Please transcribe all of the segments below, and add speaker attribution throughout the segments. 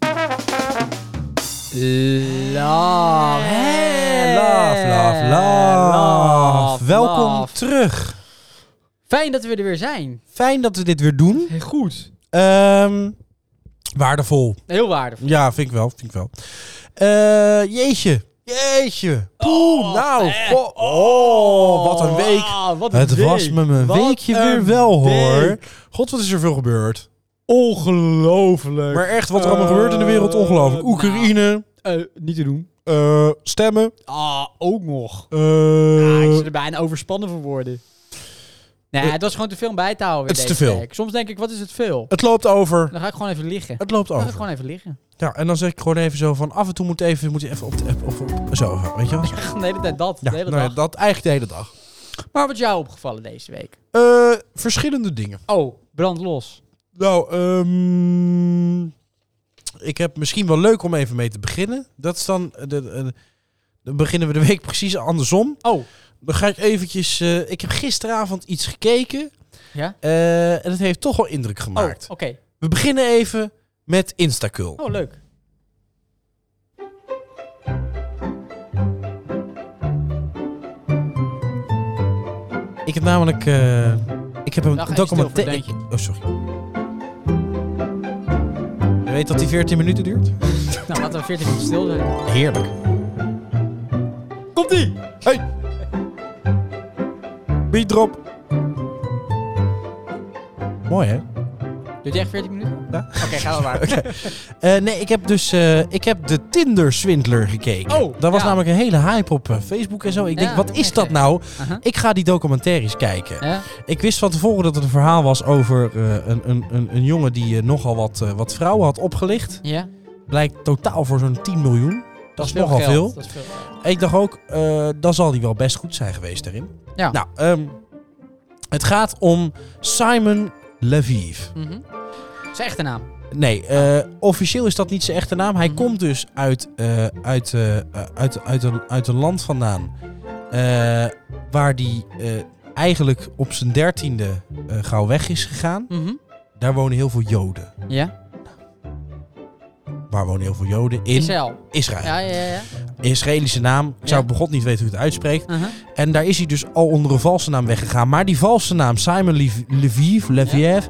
Speaker 1: Oh,
Speaker 2: Eh,
Speaker 1: terug.
Speaker 2: Fijn dat we er weer zijn.
Speaker 1: Fijn dat we dit weer doen.
Speaker 2: Heel goed.
Speaker 1: Ehm, waardevol.
Speaker 2: Heel waardevol.
Speaker 1: Ja, vind ik wel. Vind ik wel. Eh, jeetje. Jeetje. Poeh,
Speaker 2: Oh,
Speaker 1: nou.
Speaker 2: eh.
Speaker 1: goh. Oh, wat een week.
Speaker 2: Ah, wat een
Speaker 1: Het
Speaker 2: week.
Speaker 1: was me mijn
Speaker 2: Wat
Speaker 1: weekje
Speaker 2: een
Speaker 1: weer wel, hoor.
Speaker 2: week.
Speaker 1: God, wat is er veel gebeurd.
Speaker 2: Ongelooflijk.
Speaker 1: Maar echt, wat er allemaal gebeurt in de wereld, ongelooflijk.
Speaker 2: Eh,
Speaker 1: Oekraïne,
Speaker 2: Eh, niet te doen.
Speaker 1: eh, stemmen.
Speaker 2: Ah, ook nog.
Speaker 1: eh,
Speaker 2: Ah, ik zit er bijna overspannen van worden. Nee,
Speaker 1: eh,
Speaker 2: het was gewoon te veel om bij te houden. weer
Speaker 1: het is
Speaker 2: deze
Speaker 1: te veel.
Speaker 2: week. Soms denk ik, wat is het veel?
Speaker 1: het loopt over.
Speaker 2: Dan ga ik gewoon even liggen.
Speaker 1: Het loopt
Speaker 2: Dan ga
Speaker 1: over.
Speaker 2: ik gewoon even liggen.
Speaker 1: Ja, en dan zeg ik gewoon even zo van af en toe moet even, moet je even op de app of op, zo, weet je wel? Zo.
Speaker 2: De hele tijd dat.
Speaker 1: Ja,
Speaker 2: de hele
Speaker 1: nou ja,
Speaker 2: dag.
Speaker 1: dat eigenlijk de hele dag.
Speaker 2: Maar wat is jou opgevallen deze week?
Speaker 1: Eh, verschillende dingen.
Speaker 2: Oh, brand los.
Speaker 1: Nou, ehm, ik heb misschien wel leuk om even mee te beginnen. Dat is dan, eh, de, eh, dan beginnen we de week precies andersom.
Speaker 2: Oh,
Speaker 1: Dan ga ik eventjes, eh, ik heb gisteravond iets gekeken
Speaker 2: ja?
Speaker 1: eh, en het heeft toch wel indruk
Speaker 2: Oh,
Speaker 1: gemaakt.
Speaker 2: oké.
Speaker 1: We beginnen even met Instacul.
Speaker 2: Oh, leuk.
Speaker 1: Ik heb namelijk, eh, ik heb een
Speaker 2: Dag, even
Speaker 1: documenta-
Speaker 2: stil voor
Speaker 1: Oh, sorry. Je weet dat die 14 minuten duurt?
Speaker 2: Nou, laten we 14 minuten stil zijn.
Speaker 1: Heerlijk.
Speaker 2: Komt-ie!
Speaker 1: Hey! Beat drop. Mooi, hè?
Speaker 2: Doet je echt 14 minuten?
Speaker 1: Ja.
Speaker 2: Oké, gaan we maar.
Speaker 1: Eh, nee, ik heb dus eh, ik heb de Tinder-swindler gekeken.
Speaker 2: Oh,
Speaker 1: Daar was
Speaker 2: ja.
Speaker 1: namelijk een hele hype op eh, Facebook en zo. Ik denk,
Speaker 2: Ja,
Speaker 1: wat is dat
Speaker 2: oké.
Speaker 1: nou?
Speaker 2: Aha.
Speaker 1: Ik ga die documentaires kijken.
Speaker 2: Ja?
Speaker 1: Ik wist van tevoren dat het een verhaal was over eh, een, een, een, een jongen die eh, nogal wat, eh, wat vrouwen had opgelicht.
Speaker 2: ja?
Speaker 1: Blijkt totaal voor zo'n 10 miljoen. Dat, is
Speaker 2: veel
Speaker 1: nogal
Speaker 2: geld.
Speaker 1: veel.
Speaker 2: Dat is veel. geld.
Speaker 1: Ik dacht ook, eh dan zal hij wel best goed zijn geweest daarin.
Speaker 2: Ja.
Speaker 1: Nou, ehm, het gaat om Simon Laviv.
Speaker 2: Mhm. Dat is echt een naam.
Speaker 1: Nee, eh, officieel is dat niet zijn echte naam. Hij
Speaker 2: Mhm.
Speaker 1: komt dus uit, eh, uit, eh, uit, uit, een, uit een land vandaan. eh, waar hij eigenlijk op zijn dertiende eh gauw weg is gegaan.
Speaker 2: Mhm.
Speaker 1: Daar wonen heel veel Joden.
Speaker 2: Ja?
Speaker 1: Waar wonen heel veel Joden? In
Speaker 2: Israël.
Speaker 1: Israël.
Speaker 2: Ja, ja, ja.
Speaker 1: Israëlische naam. Ik zou
Speaker 2: Ja.
Speaker 1: bij God niet weten hoe het uitspreekt.
Speaker 2: Aha.
Speaker 1: En daar is hij dus al onder een valse naam weggegaan. Maar die valse naam, Simon Lev- Leviev, Leviev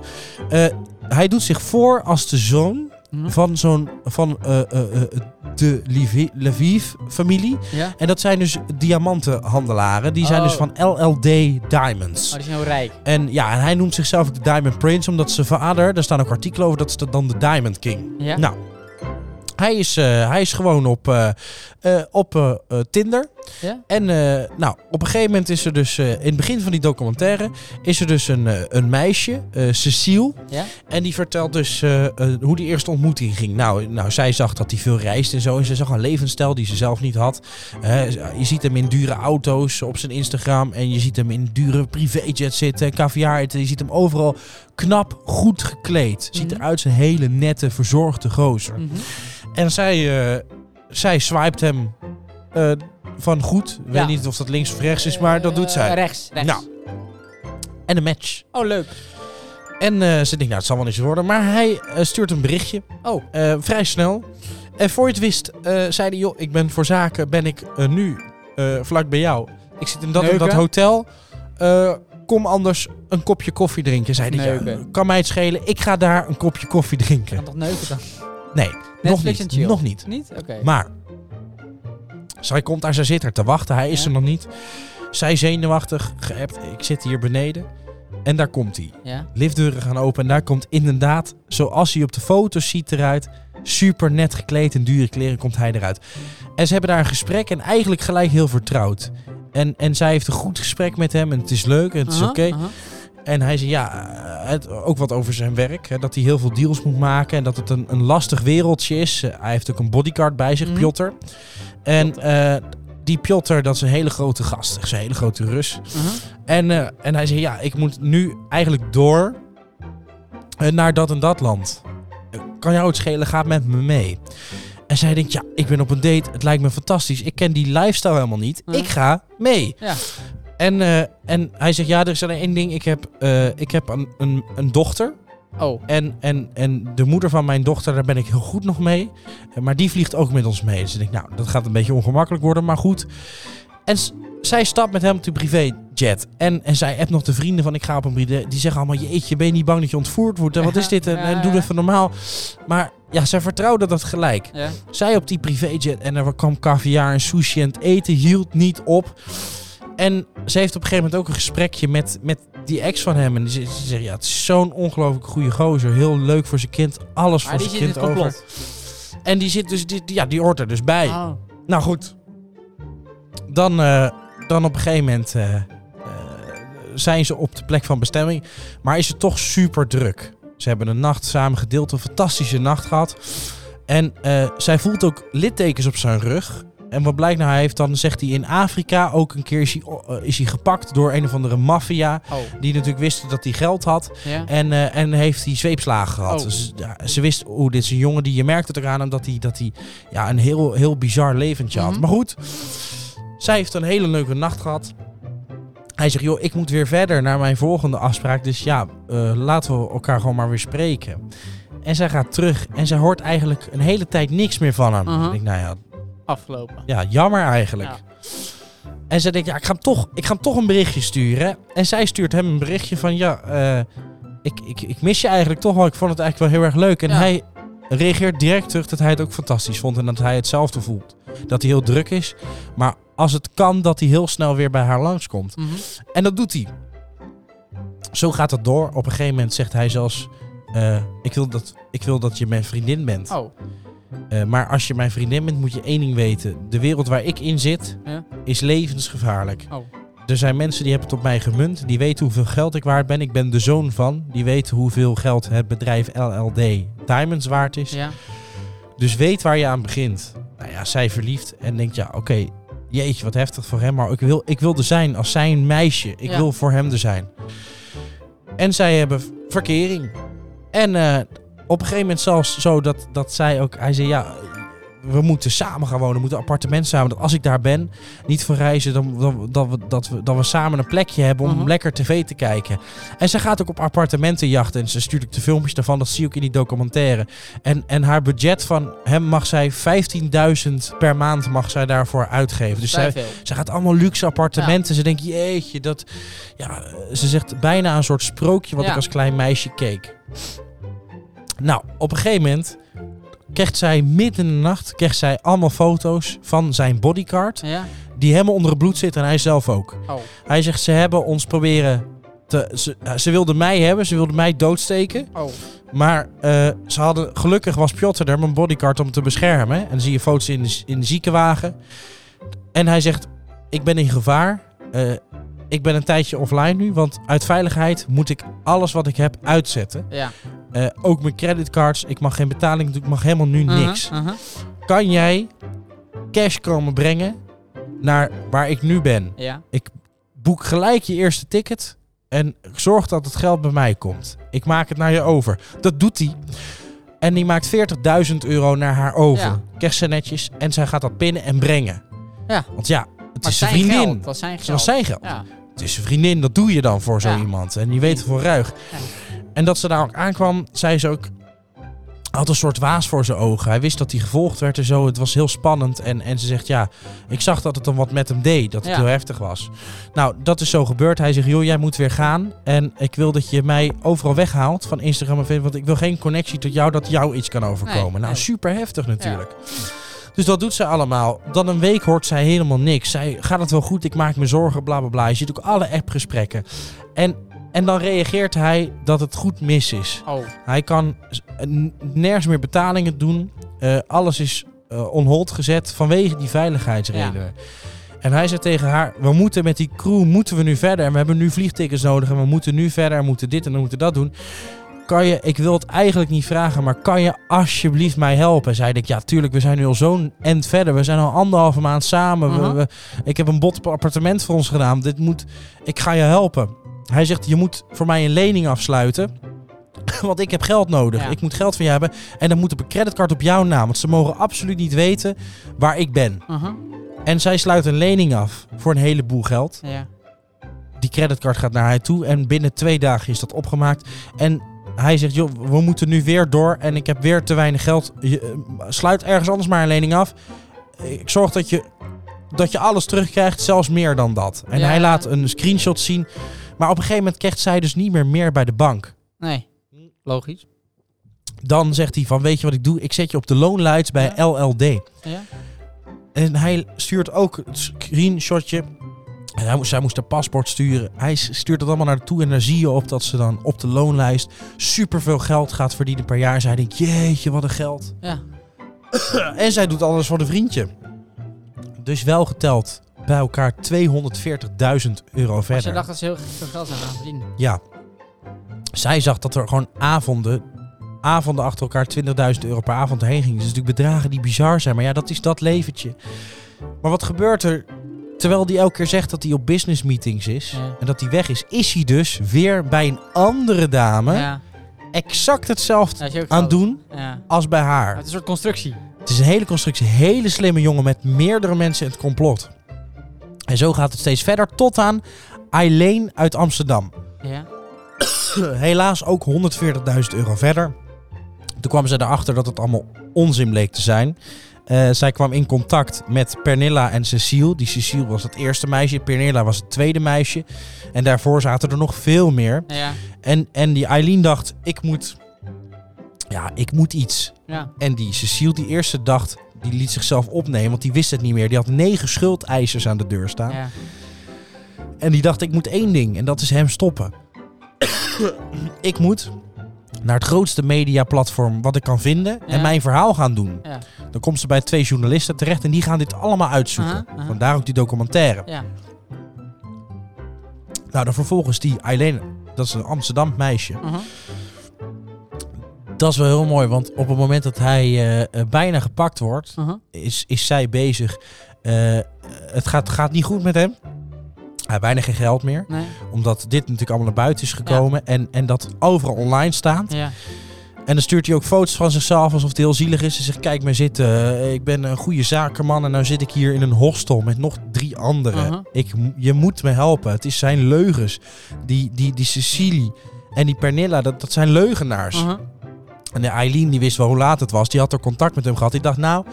Speaker 1: eh, hij doet zich voor als de zoon
Speaker 2: Mhm.
Speaker 1: van, zo'n, van eh, eh, eh, de Levi- Leviev-familie.
Speaker 2: Ja?
Speaker 1: En dat zijn dus diamantenhandelaren. Die zijn
Speaker 2: Oh.
Speaker 1: dus van LLD Diamonds.
Speaker 2: Oh, die zijn heel rijk.
Speaker 1: En ja, en hij noemt zichzelf ook de Diamond Prince, omdat zijn vader, daar staan ook artikelen over, dat is dan de Diamond King.
Speaker 2: Ja?
Speaker 1: Nou, hij is, eh, hij is gewoon op, eh, eh, op eh, eh, Tinder.
Speaker 2: Ja?
Speaker 1: En eh, nou, op een gegeven moment is er dus, eh, in het begin van die documentaire, is er dus een, eh, een meisje, eh Cecile.
Speaker 2: Ja?
Speaker 1: En die vertelt dus eh, eh, hoe die eerste ontmoeting ging. Nou, nou, zij zag dat hij veel reist en zo. En ze zag een levensstijl die ze zelf niet had. Eh, je ziet hem in dure auto's op zijn Instagram. En je ziet hem in dure privéjets zitten, caviar eten. Je ziet hem overal knap, goed gekleed. Ziet
Speaker 2: Mhm.
Speaker 1: eruit als een hele nette, verzorgde gozer.
Speaker 2: Mhm.
Speaker 1: En zij, eh, zij swiped hem eh, van goed.
Speaker 2: Ja.
Speaker 1: Ik weet niet of dat links of rechts is, maar dat doet
Speaker 2: Eh,
Speaker 1: zij.
Speaker 2: rechts, rechts.
Speaker 1: Nou. En een match.
Speaker 2: Oh, leuk.
Speaker 1: En eh, ze denkt, nou, het zal wel eens worden. Maar hij eh, stuurt een berichtje.
Speaker 2: Oh.
Speaker 1: Eh, vrij snel. En voor je het wist, eh, zei hij, joh, ik ben voor zaken, ben ik eh, nu eh, vlak bij jou. Ik zit in dat, en dat
Speaker 2: Neuken.
Speaker 1: hotel. Eh, kom anders een kopje koffie drinken, zei hij. Ja,
Speaker 2: Neuken.
Speaker 1: kan mij het schelen, ik ga daar een kopje koffie drinken.
Speaker 2: Kan toch neuken dan?
Speaker 1: Nee, nog
Speaker 2: Netflix en
Speaker 1: niet,
Speaker 2: chill.
Speaker 1: nog niet.
Speaker 2: Niet? Oké.
Speaker 1: Maar zij komt daar, zij zit er te wachten. Hij is
Speaker 2: Ja.
Speaker 1: er nog niet. Zij zenuwachtig, geappt. Ik zit hier beneden. En daar komt hij.
Speaker 2: Ja?
Speaker 1: Liftdeuren gaan open. En daar komt inderdaad, zoals hij op de foto's ziet eruit. Super net gekleed in dure kleren komt hij eruit. En ze hebben daar een gesprek en eigenlijk gelijk heel vertrouwd. En, en zij heeft een goed gesprek met hem en het is leuk en het is
Speaker 2: Aha,
Speaker 1: oké.
Speaker 2: aha.
Speaker 1: En hij zei ja, het, ook wat over zijn werk. Hè, dat hij heel veel deals moet maken en dat het een, een lastig wereldje is. Eh, hij heeft ook een bodyguard bij zich,
Speaker 2: Mhm.
Speaker 1: Piotr. En
Speaker 2: Piotr.
Speaker 1: eh, die Piotr, dat is een hele grote gast. Dat is een hele grote Rus.
Speaker 2: Aha.
Speaker 1: En, eh, en hij zei ja, ik moet nu eigenlijk door eh, naar dat en dat land. Eh, Kan jou het schelen, ga met me mee. En zij denkt, ja, ik ben op een date, het lijkt me fantastisch. Ik ken die lifestyle helemaal niet.
Speaker 2: Mhm.
Speaker 1: Ik ga mee.
Speaker 2: Ja.
Speaker 1: En, eh, en hij zegt, ja, er is alleen één ding. Ik heb, eh, ik heb een, een, een dochter.
Speaker 2: Oh.
Speaker 1: En, en, en de moeder van mijn dochter, daar ben ik heel goed nog mee. Eh, Maar die vliegt ook met ons mee. Dus ik denk, nou, dat gaat een beetje ongemakkelijk worden, maar goed. En s- Zij stapt met hem op de privéjet. En, en zij appt nog de vrienden van ik ga op een privé. Die zeggen allemaal, jeetje, ben je niet bang dat je ontvoerd wordt? En wat is dit? En, en doe even normaal. Maar ja, zij vertrouwde dat gelijk.
Speaker 2: Ja.
Speaker 1: Zij op die privéjet en er kwam caviar en sushi en het eten hield niet op. En ze heeft op een gegeven moment ook een gesprekje met, met die ex van hem. En die ze, ze zegt, ja, het is zo'n ongelooflijk goede gozer. Heel leuk voor zijn kind. Alles
Speaker 2: Maar
Speaker 1: voor
Speaker 2: die
Speaker 1: zijn
Speaker 2: zit in
Speaker 1: kind
Speaker 2: het
Speaker 1: over.
Speaker 2: complot.
Speaker 1: En die zit dus, die, die- ja, die hoort er dus bij.
Speaker 2: Oh.
Speaker 1: Nou goed. Dan, eh, dan op een gegeven moment eh, eh, zijn ze op de plek van bestemming. Maar is het toch super druk. Ze hebben een nacht samen gedeeld. Een fantastische nacht gehad. En eh, zij voelt ook littekens op zijn rug. En wat blijkt nou, hij heeft dan, zegt hij, in Afrika ook een keer is hij, oh, eh, is hij gepakt door een of andere maffia.
Speaker 2: Oh.
Speaker 1: Die natuurlijk wisten dat hij geld had.
Speaker 2: Ja.
Speaker 1: En, eh, en heeft hij zweepslagen gehad.
Speaker 2: Oh.
Speaker 1: Dus, ja, ze wist, oeh, dit is een jongen die je merkte het eraan hem dat hij, dat hij ja, een heel, heel bizar leventje had.
Speaker 2: Mhm.
Speaker 1: Maar goed, zij heeft een hele leuke nacht gehad. Hij zegt, joh, ik moet weer verder naar mijn volgende afspraak. Dus ja, eh, laten we elkaar gewoon maar weer spreken. En zij gaat terug en zij hoort eigenlijk een hele tijd niks meer van hem.
Speaker 2: Mhm.
Speaker 1: Ik denk, nou ja,
Speaker 2: Afgelopen.
Speaker 1: ja, jammer eigenlijk.
Speaker 2: Ja.
Speaker 1: En zij denkt, ja, ik ga, hem toch, ik ga hem toch een berichtje sturen. En zij stuurt hem een berichtje van, ja, eh, ik, ik, ik mis je eigenlijk toch wel. Ik vond het eigenlijk wel heel erg leuk. En
Speaker 2: Ja.
Speaker 1: hij reageert direct terug dat hij het ook fantastisch vond. En dat hij hetzelfde voelt. Dat hij heel druk is. Maar als het kan, dat hij heel snel weer bij haar langskomt.
Speaker 2: Mhm.
Speaker 1: En dat doet hij. Zo gaat dat door. Op een gegeven moment zegt hij zelfs... eh, ik, wil dat, ik wil dat je mijn vriendin bent.
Speaker 2: Oh.
Speaker 1: Eh, maar als je mijn vriendin bent, moet je één ding weten. De wereld waar ik in zit,
Speaker 2: Ja.
Speaker 1: is levensgevaarlijk.
Speaker 2: Oh.
Speaker 1: Er zijn mensen die hebben het op mij gemunt. Die weten hoeveel geld ik waard ben. Ik ben de zoon van. Die weten hoeveel geld het bedrijf LLD Diamonds waard is.
Speaker 2: Ja.
Speaker 1: Dus weet waar je aan begint. Nou ja, zij verliefd en denkt ja, oké. jeetje, wat heftig voor hem. Maar ik wil, ik wil er zijn als zijn meisje. Ik
Speaker 2: Ja.
Speaker 1: wil voor hem er zijn. En zij hebben v- verkering. En eh, op een gegeven moment zelfs zo dat, dat zij ook... Hij zei ja, we moeten samen gaan wonen. We moeten een appartement samen. Dat als ik daar ben, niet voor reizen. Dan, dan, dat, we, dat, we, dat we samen een plekje hebben om
Speaker 2: Mhm.
Speaker 1: lekker tv te kijken. En zij gaat ook op appartementen jachten. En ze stuurt ook de filmpjes daarvan. Dat zie ik in die documentaire. En, en haar budget van hem mag zij 15.000 per maand mag zij daarvoor uitgeven. Dus zij,
Speaker 2: Vrij veel.
Speaker 1: zij gaat allemaal luxe appartementen. Ze denkt, jeetje, dat... Ja, eh, ze zegt bijna een soort sprookje wat
Speaker 2: Ja.
Speaker 1: ik als klein meisje keek. Nou, op een gegeven moment krijgt zij midden in de nacht krijgt zij allemaal foto's van zijn bodyguard.
Speaker 2: Ja.
Speaker 1: Die helemaal onder het bloed zit en hij zelf ook.
Speaker 2: Oh.
Speaker 1: Hij zegt, ze hebben ons proberen te... Ze, ze wilden mij hebben, ze wilden mij doodsteken.
Speaker 2: Oh.
Speaker 1: Maar eh, ze hadden, gelukkig was Piotr er, mijn bodyguard, om te beschermen. En dan zie je foto's in de, in de ziekenwagen. En hij zegt, ik ben in gevaar. Eh, ik ben een tijdje offline nu, want uit veiligheid moet ik alles wat ik heb uitzetten.
Speaker 2: Ja.
Speaker 1: Eh, ook mijn creditcards, ik mag geen betaling doen, ik mag helemaal nu niks.
Speaker 2: Mhm, mhm.
Speaker 1: Kan jij cash komen brengen naar waar ik nu ben?
Speaker 2: Ja.
Speaker 1: boek gelijk je eerste ticket en zorg dat het geld bij mij komt. Ik maak het naar je over. Dat doet hij. En die maakt 40.000 euro naar haar over.
Speaker 2: Ja.
Speaker 1: Krijgt ze netjes en zij gaat dat pinnen en brengen.
Speaker 2: Ja.
Speaker 1: Want ja, het
Speaker 2: Maar
Speaker 1: is zijn
Speaker 2: zijn
Speaker 1: vriendin.
Speaker 2: geld. Dat zijn
Speaker 1: Het was
Speaker 2: geld.
Speaker 1: zijn geld.
Speaker 2: Ja.
Speaker 1: Het is zijn vriendin, dat doe je dan voor zo
Speaker 2: Ja.
Speaker 1: iemand. En die weet het voor ruig.
Speaker 2: Ja.
Speaker 1: En dat ze daar ook aankwam, zei ze ook... Had een soort waas voor zijn ogen. Hij wist dat hij gevolgd werd en zo. Het was heel spannend. En, en ze zegt, ja, ik zag dat het dan wat met hem deed. Dat het
Speaker 2: Ja.
Speaker 1: heel heftig was. Nou, dat is zo gebeurd. Hij zegt, joh, jij moet weer gaan. En ik wil dat je mij overal weghaalt van Instagram en Facebook. Want ik wil geen connectie tot jou, dat jou iets kan overkomen.
Speaker 2: Nee,
Speaker 1: nou,
Speaker 2: nee.
Speaker 1: super heftig natuurlijk. Dus dat doet ze allemaal. Dan een week hoort zij helemaal niks. Zij gaat het wel goed, ik maak me zorgen, bla bla bla. Je ziet ook alle appgesprekken. En, en dan reageert hij dat het goed mis is.
Speaker 2: Oh.
Speaker 1: Hij kan s- n- nergens meer betalingen doen. Eh, alles is eh on hold gezet vanwege die veiligheidsredenen. En hij zei tegen haar, we moeten met die crew moeten we nu verder. En we hebben nu vliegtickets nodig. En we moeten nu verder. En we moeten dit en we moeten dat doen. Kan je, ik wil het eigenlijk niet vragen, maar kan je alsjeblieft mij helpen? Zei ik, ja tuurlijk, we zijn nu al zo'n end verder. We zijn al anderhalve maand samen. We-
Speaker 2: Mhm.
Speaker 1: we- ik heb een bot op appartement voor ons gedaan. Dit moet, ik ga je helpen. Hij zegt, je moet voor mij een lening afsluiten. Want ik heb geld nodig.
Speaker 2: Ja.
Speaker 1: Ik moet geld van je hebben. En dan moet op een creditcard op jouw naam. Want ze mogen absoluut niet weten waar ik ben.
Speaker 2: Mhm.
Speaker 1: En zij sluit een lening af voor een heleboel geld.
Speaker 2: Ja.
Speaker 1: Die creditcard gaat naar haar toe. En binnen twee dagen is dat opgemaakt. En hij zegt, joh, we moeten nu weer door. En ik heb weer te weinig geld. Je, eh, sluit ergens anders maar een lening af. Ik zorg dat je dat je alles terugkrijgt, zelfs meer dan dat. En
Speaker 2: Ja.
Speaker 1: hij laat een screenshot zien. Maar op een gegeven moment krijgt zij dus niet meer meer bij de bank.
Speaker 2: Nee, logisch.
Speaker 1: Dan zegt hij van, weet je wat ik doe? Ik zet je op de loonlijst bij LLD.
Speaker 2: Ja.
Speaker 1: En hij stuurt ook het screenshotje. En hij moest, zij moest haar paspoort sturen. Hij s- stuurt dat allemaal naartoe. En daar zie je op dat ze dan op de loonlijst superveel geld gaat verdienen per jaar. Zij denkt, jeetje, wat een geld.
Speaker 2: Ja.
Speaker 1: en zij doet alles voor de vriendje. Dus wel geteld bij elkaar 240.000 euro
Speaker 2: Maar ze
Speaker 1: verder.
Speaker 2: dacht dat ze heel veel geld zou gaan verdienen.
Speaker 1: Ja. Zij zag dat er gewoon avonden, avonden achter elkaar 20.000 euro per avond heen gingen. Dus natuurlijk bedragen die bizar zijn. Maar ja, dat is dat leventje. Maar wat gebeurt er? Terwijl hij elke keer zegt dat hij op business meetings is
Speaker 2: Ja.
Speaker 1: en dat hij weg is, is hij dus weer bij een andere dame
Speaker 2: Ja,
Speaker 1: exact hetzelfde
Speaker 2: dat is heel
Speaker 1: aan
Speaker 2: groot.
Speaker 1: het doen
Speaker 2: Ja. Maar
Speaker 1: als bij haar.
Speaker 2: het is een soort constructie.
Speaker 1: Het is een hele constructie, hele slimme jongen met meerdere mensen in het complot. En zo gaat het steeds verder tot aan Eileen uit Amsterdam.
Speaker 2: Ja.
Speaker 1: helaas ook 140.000 euro verder. Toen kwam zij erachter dat het allemaal onzin bleek te zijn. Eh, zij kwam in contact met Pernilla en Cecile. Die Cecile was het eerste meisje, Pernilla was het tweede meisje. En daarvoor zaten er nog veel meer.
Speaker 2: Ja.
Speaker 1: En, en die Eileen dacht, ik moet, ja, ik moet iets.
Speaker 2: Ja.
Speaker 1: En die Cecile, die eerste dacht, die liet zichzelf opnemen, want die wist het niet meer. Die had negen schuldeisers aan de deur staan.
Speaker 2: Ja.
Speaker 1: En die dacht, ik moet één ding en dat is hem stoppen. ik moet naar het grootste mediaplatform wat ik kan vinden en
Speaker 2: Ja.
Speaker 1: mijn verhaal gaan doen.
Speaker 2: Ja.
Speaker 1: Dan komt ze bij twee journalisten terecht en die gaan dit allemaal uitzoeken.
Speaker 2: Aha, aha.
Speaker 1: Vandaar ook die documentaire.
Speaker 2: Ja.
Speaker 1: Nou, dan vervolgens die Eileen, dat is een Amsterdam meisje.
Speaker 2: Mhm.
Speaker 1: Dat is wel heel mooi, want op het moment dat hij eh, eh, bijna gepakt wordt,
Speaker 2: Mhm.
Speaker 1: is, is zij bezig. eh, het gaat, gaat niet goed met hem. Hij heeft bijna geen geld meer.
Speaker 2: Nee.
Speaker 1: Omdat dit natuurlijk allemaal naar buiten is gekomen. En, en dat overal online staat.
Speaker 2: Ja.
Speaker 1: En dan stuurt hij ook foto's van zichzelf alsof het heel zielig is. Hij zegt, kijk mij zitten. Eh, Ik ben een goede zakenman en nu zit ik hier in een hostel met nog drie anderen.
Speaker 2: Aha.
Speaker 1: ik, m- je moet me helpen. Het is zijn leugens. Die, die, die Cecilie en die Pernilla, dat, dat zijn leugenaars.
Speaker 2: Mhm.
Speaker 1: En de Eileen, die wist wel hoe laat het was. Die had er contact met hem gehad. Die dacht, nou,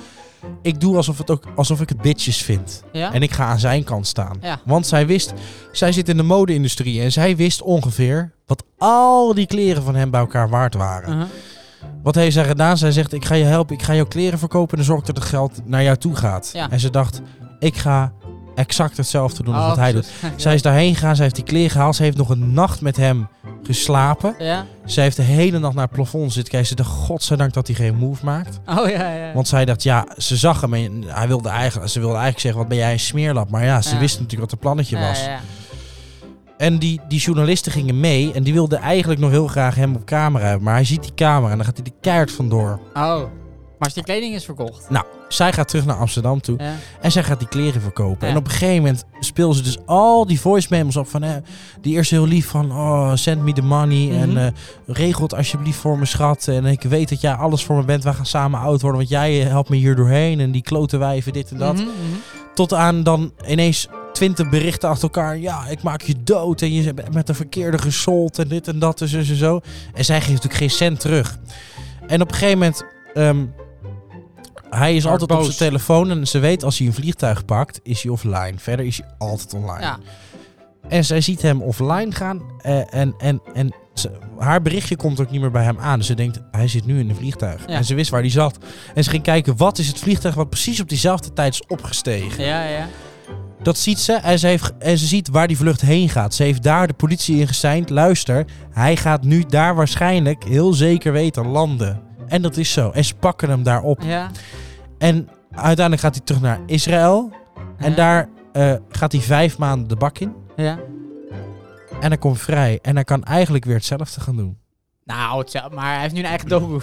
Speaker 1: ik doe alsof, het ook, alsof ik het bitches vind.
Speaker 2: Ja.
Speaker 1: En ik ga aan zijn kant staan.
Speaker 2: Ja.
Speaker 1: Want zij wist, zij zit in de mode-industrie en zij wist ongeveer wat al die kleren van hem bij elkaar waard waren.
Speaker 2: Mhm.
Speaker 1: Wat heeft zij gedaan? Zij zegt: Ik ga je helpen, ik ga jouw kleren verkopen en dan zorg ik dat het geld naar jou toe gaat.
Speaker 2: Ja.
Speaker 1: En ze dacht: Ik ga exact hetzelfde doen als
Speaker 2: Oh,
Speaker 1: wat hij doet.
Speaker 2: precies.
Speaker 1: Zij is daarheen gegaan, zij heeft die kleren gehaald, ze heeft nog een nacht met hem geslapen.
Speaker 2: Ja.
Speaker 1: Zij heeft de hele nacht naar het plafond zitten kijken. Ze dacht: Godzijdank dat hij geen move maakt.
Speaker 2: Oh ja, ja.
Speaker 1: Want zij dacht, ja, ze zag hem en hij wilde eigenlijk, ze wilde eigenlijk zeggen, wat ben jij een smeerlap? Maar ja, ze
Speaker 2: Ja.
Speaker 1: wist natuurlijk wat het plannetje
Speaker 2: Ja,
Speaker 1: was.
Speaker 2: ja, ja.
Speaker 1: En die, die journalisten gingen mee en die wilden eigenlijk nog heel graag hem op camera hebben. Maar hij ziet die camera en dan gaat hij de keihard vandoor.
Speaker 2: Oh. Maar als die kleding is verkocht.
Speaker 1: Zij gaat terug naar Amsterdam toe
Speaker 2: Ja.
Speaker 1: en zij gaat die kleren verkopen.
Speaker 2: Ja.
Speaker 1: En op een gegeven moment speelden ze dus al die voice memos op van... Hè, die eerste heel lief van, oh, send me the money en
Speaker 2: Mhm.
Speaker 1: eh, regel het alsjeblieft voor me, schat. En ik weet dat jij alles voor me bent, wij gaan samen oud worden, want jij eh, helpt me hier doorheen. En die klote wijven, dit en dat.
Speaker 2: Mhm, mhm.
Speaker 1: Tot aan dan ineens twintig berichten achter elkaar. Ja, ik maak je dood en je bent met de verkeerde gesold en dit en dat en zo en zo. En zij geeft natuurlijk geen cent terug. En op een gegeven moment... ehm, hij is
Speaker 2: Wordt
Speaker 1: altijd op
Speaker 2: boos.
Speaker 1: zijn telefoon en ze weet als hij een vliegtuig pakt, is hij offline. Verder is hij altijd online.
Speaker 2: Ja.
Speaker 1: En zij ziet hem offline gaan eh, en, en, en ze- haar berichtje komt ook niet meer bij hem aan. Dus ze denkt, hij zit nu in een vliegtuig.
Speaker 2: Ja.
Speaker 1: En ze wist waar hij zat. En ze ging kijken, wat is het vliegtuig wat precies op diezelfde tijd is opgestegen.
Speaker 2: Ja, ja.
Speaker 1: Dat ziet ze en ze, heeft, en ze ziet waar die vlucht heen gaat. Ze heeft daar de politie in geseind. Luister, hij gaat nu daar waarschijnlijk heel zeker weten landen. En dat is zo. En ze pakken hem daar op.
Speaker 2: Ja.
Speaker 1: En uiteindelijk gaat hij terug naar Israël. En
Speaker 2: Ja.
Speaker 1: daar eh, gaat hij vijf maanden de bak in.
Speaker 2: Ja.
Speaker 1: En hij komt vrij. En hij kan eigenlijk weer hetzelfde gaan doen.
Speaker 2: Nou, het- maar hij heeft nu een eigen dobu.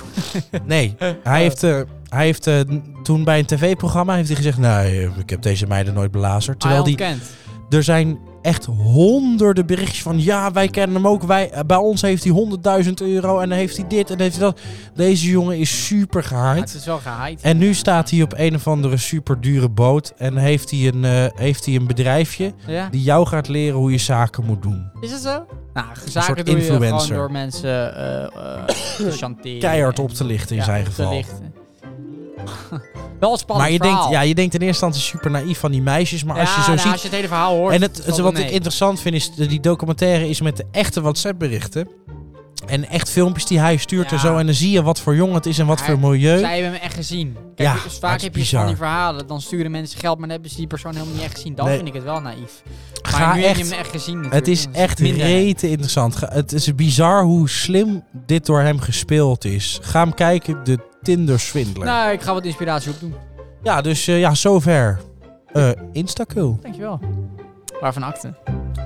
Speaker 1: Nee, hij heeft, eh, hij heeft eh, toen bij een tv-programma heeft hij gezegd... Nee, ik heb deze meiden nooit
Speaker 2: Ah,
Speaker 1: belazerd. Terwijl die,
Speaker 2: kent.
Speaker 1: Er zijn echt honderden berichtjes van... ja, wij kennen hem ook. Wij, eh, bij ons heeft hij 100.000 euro en dan heeft hij dit en heeft hij dat. Deze jongen is super
Speaker 2: Het
Speaker 1: gehaaid.
Speaker 2: is wel gehaaid.
Speaker 1: En nu staat hij op een of andere super dure boot... en heeft hij, een, eh, heeft hij een bedrijfje
Speaker 2: Ja.
Speaker 1: die jou gaat leren hoe je zaken moet doen.
Speaker 2: Is dat zo? Nou,
Speaker 1: soort
Speaker 2: zaken doe je gewoon
Speaker 1: influencer.
Speaker 2: door mensen eh, eh, te chanteren.
Speaker 1: Keihard
Speaker 2: en-
Speaker 1: op te lichten in
Speaker 2: ja,
Speaker 1: zijn
Speaker 2: op te
Speaker 1: geval.
Speaker 2: lichten. Wel een spannend
Speaker 1: Maar je denkt,
Speaker 2: verhaal.
Speaker 1: ja, je denkt in eerste instantie super naïef van die meisjes. Maar als je
Speaker 2: Ja,
Speaker 1: zo
Speaker 2: nou,
Speaker 1: ziet,
Speaker 2: als je het hele verhaal hoort.
Speaker 1: En het,
Speaker 2: valt
Speaker 1: het- wat
Speaker 2: wel
Speaker 1: ik
Speaker 2: mee.
Speaker 1: interessant vind is, de- die documentaire is met de echte WhatsApp-berichten. En echt filmpjes die hij stuurt en
Speaker 2: Ja.
Speaker 1: zo. En dan zie je wat voor jongen het is en wat
Speaker 2: Ja,
Speaker 1: voor milieu.
Speaker 2: Zij hebben hem echt gezien. Kijk,
Speaker 1: Ja,
Speaker 2: dus
Speaker 1: dat
Speaker 2: vaak
Speaker 1: is
Speaker 2: heb je
Speaker 1: bizar.
Speaker 2: van die verhalen. Dan sturen mensen geld, maar dan hebben ze die persoon helemaal niet echt gezien. Dan
Speaker 1: Nee.
Speaker 2: vind ik het wel naïef. Maar
Speaker 1: Ga
Speaker 2: nu heb je
Speaker 1: echt,
Speaker 2: hem echt gezien
Speaker 1: het
Speaker 2: natuurlijk.
Speaker 1: is
Speaker 2: Dan
Speaker 1: echt
Speaker 2: minder erg.
Speaker 1: rete interessant. Ga- Het is bizar hoe slim dit door hem gespeeld is. Ga hem kijken, de Tinder-swindler.
Speaker 2: Nou, ik ga wat inspiratie opdoen.
Speaker 1: Ja, dus eh, ja, zover. Eh Instacul.
Speaker 2: Dankjewel. Waarvan akte?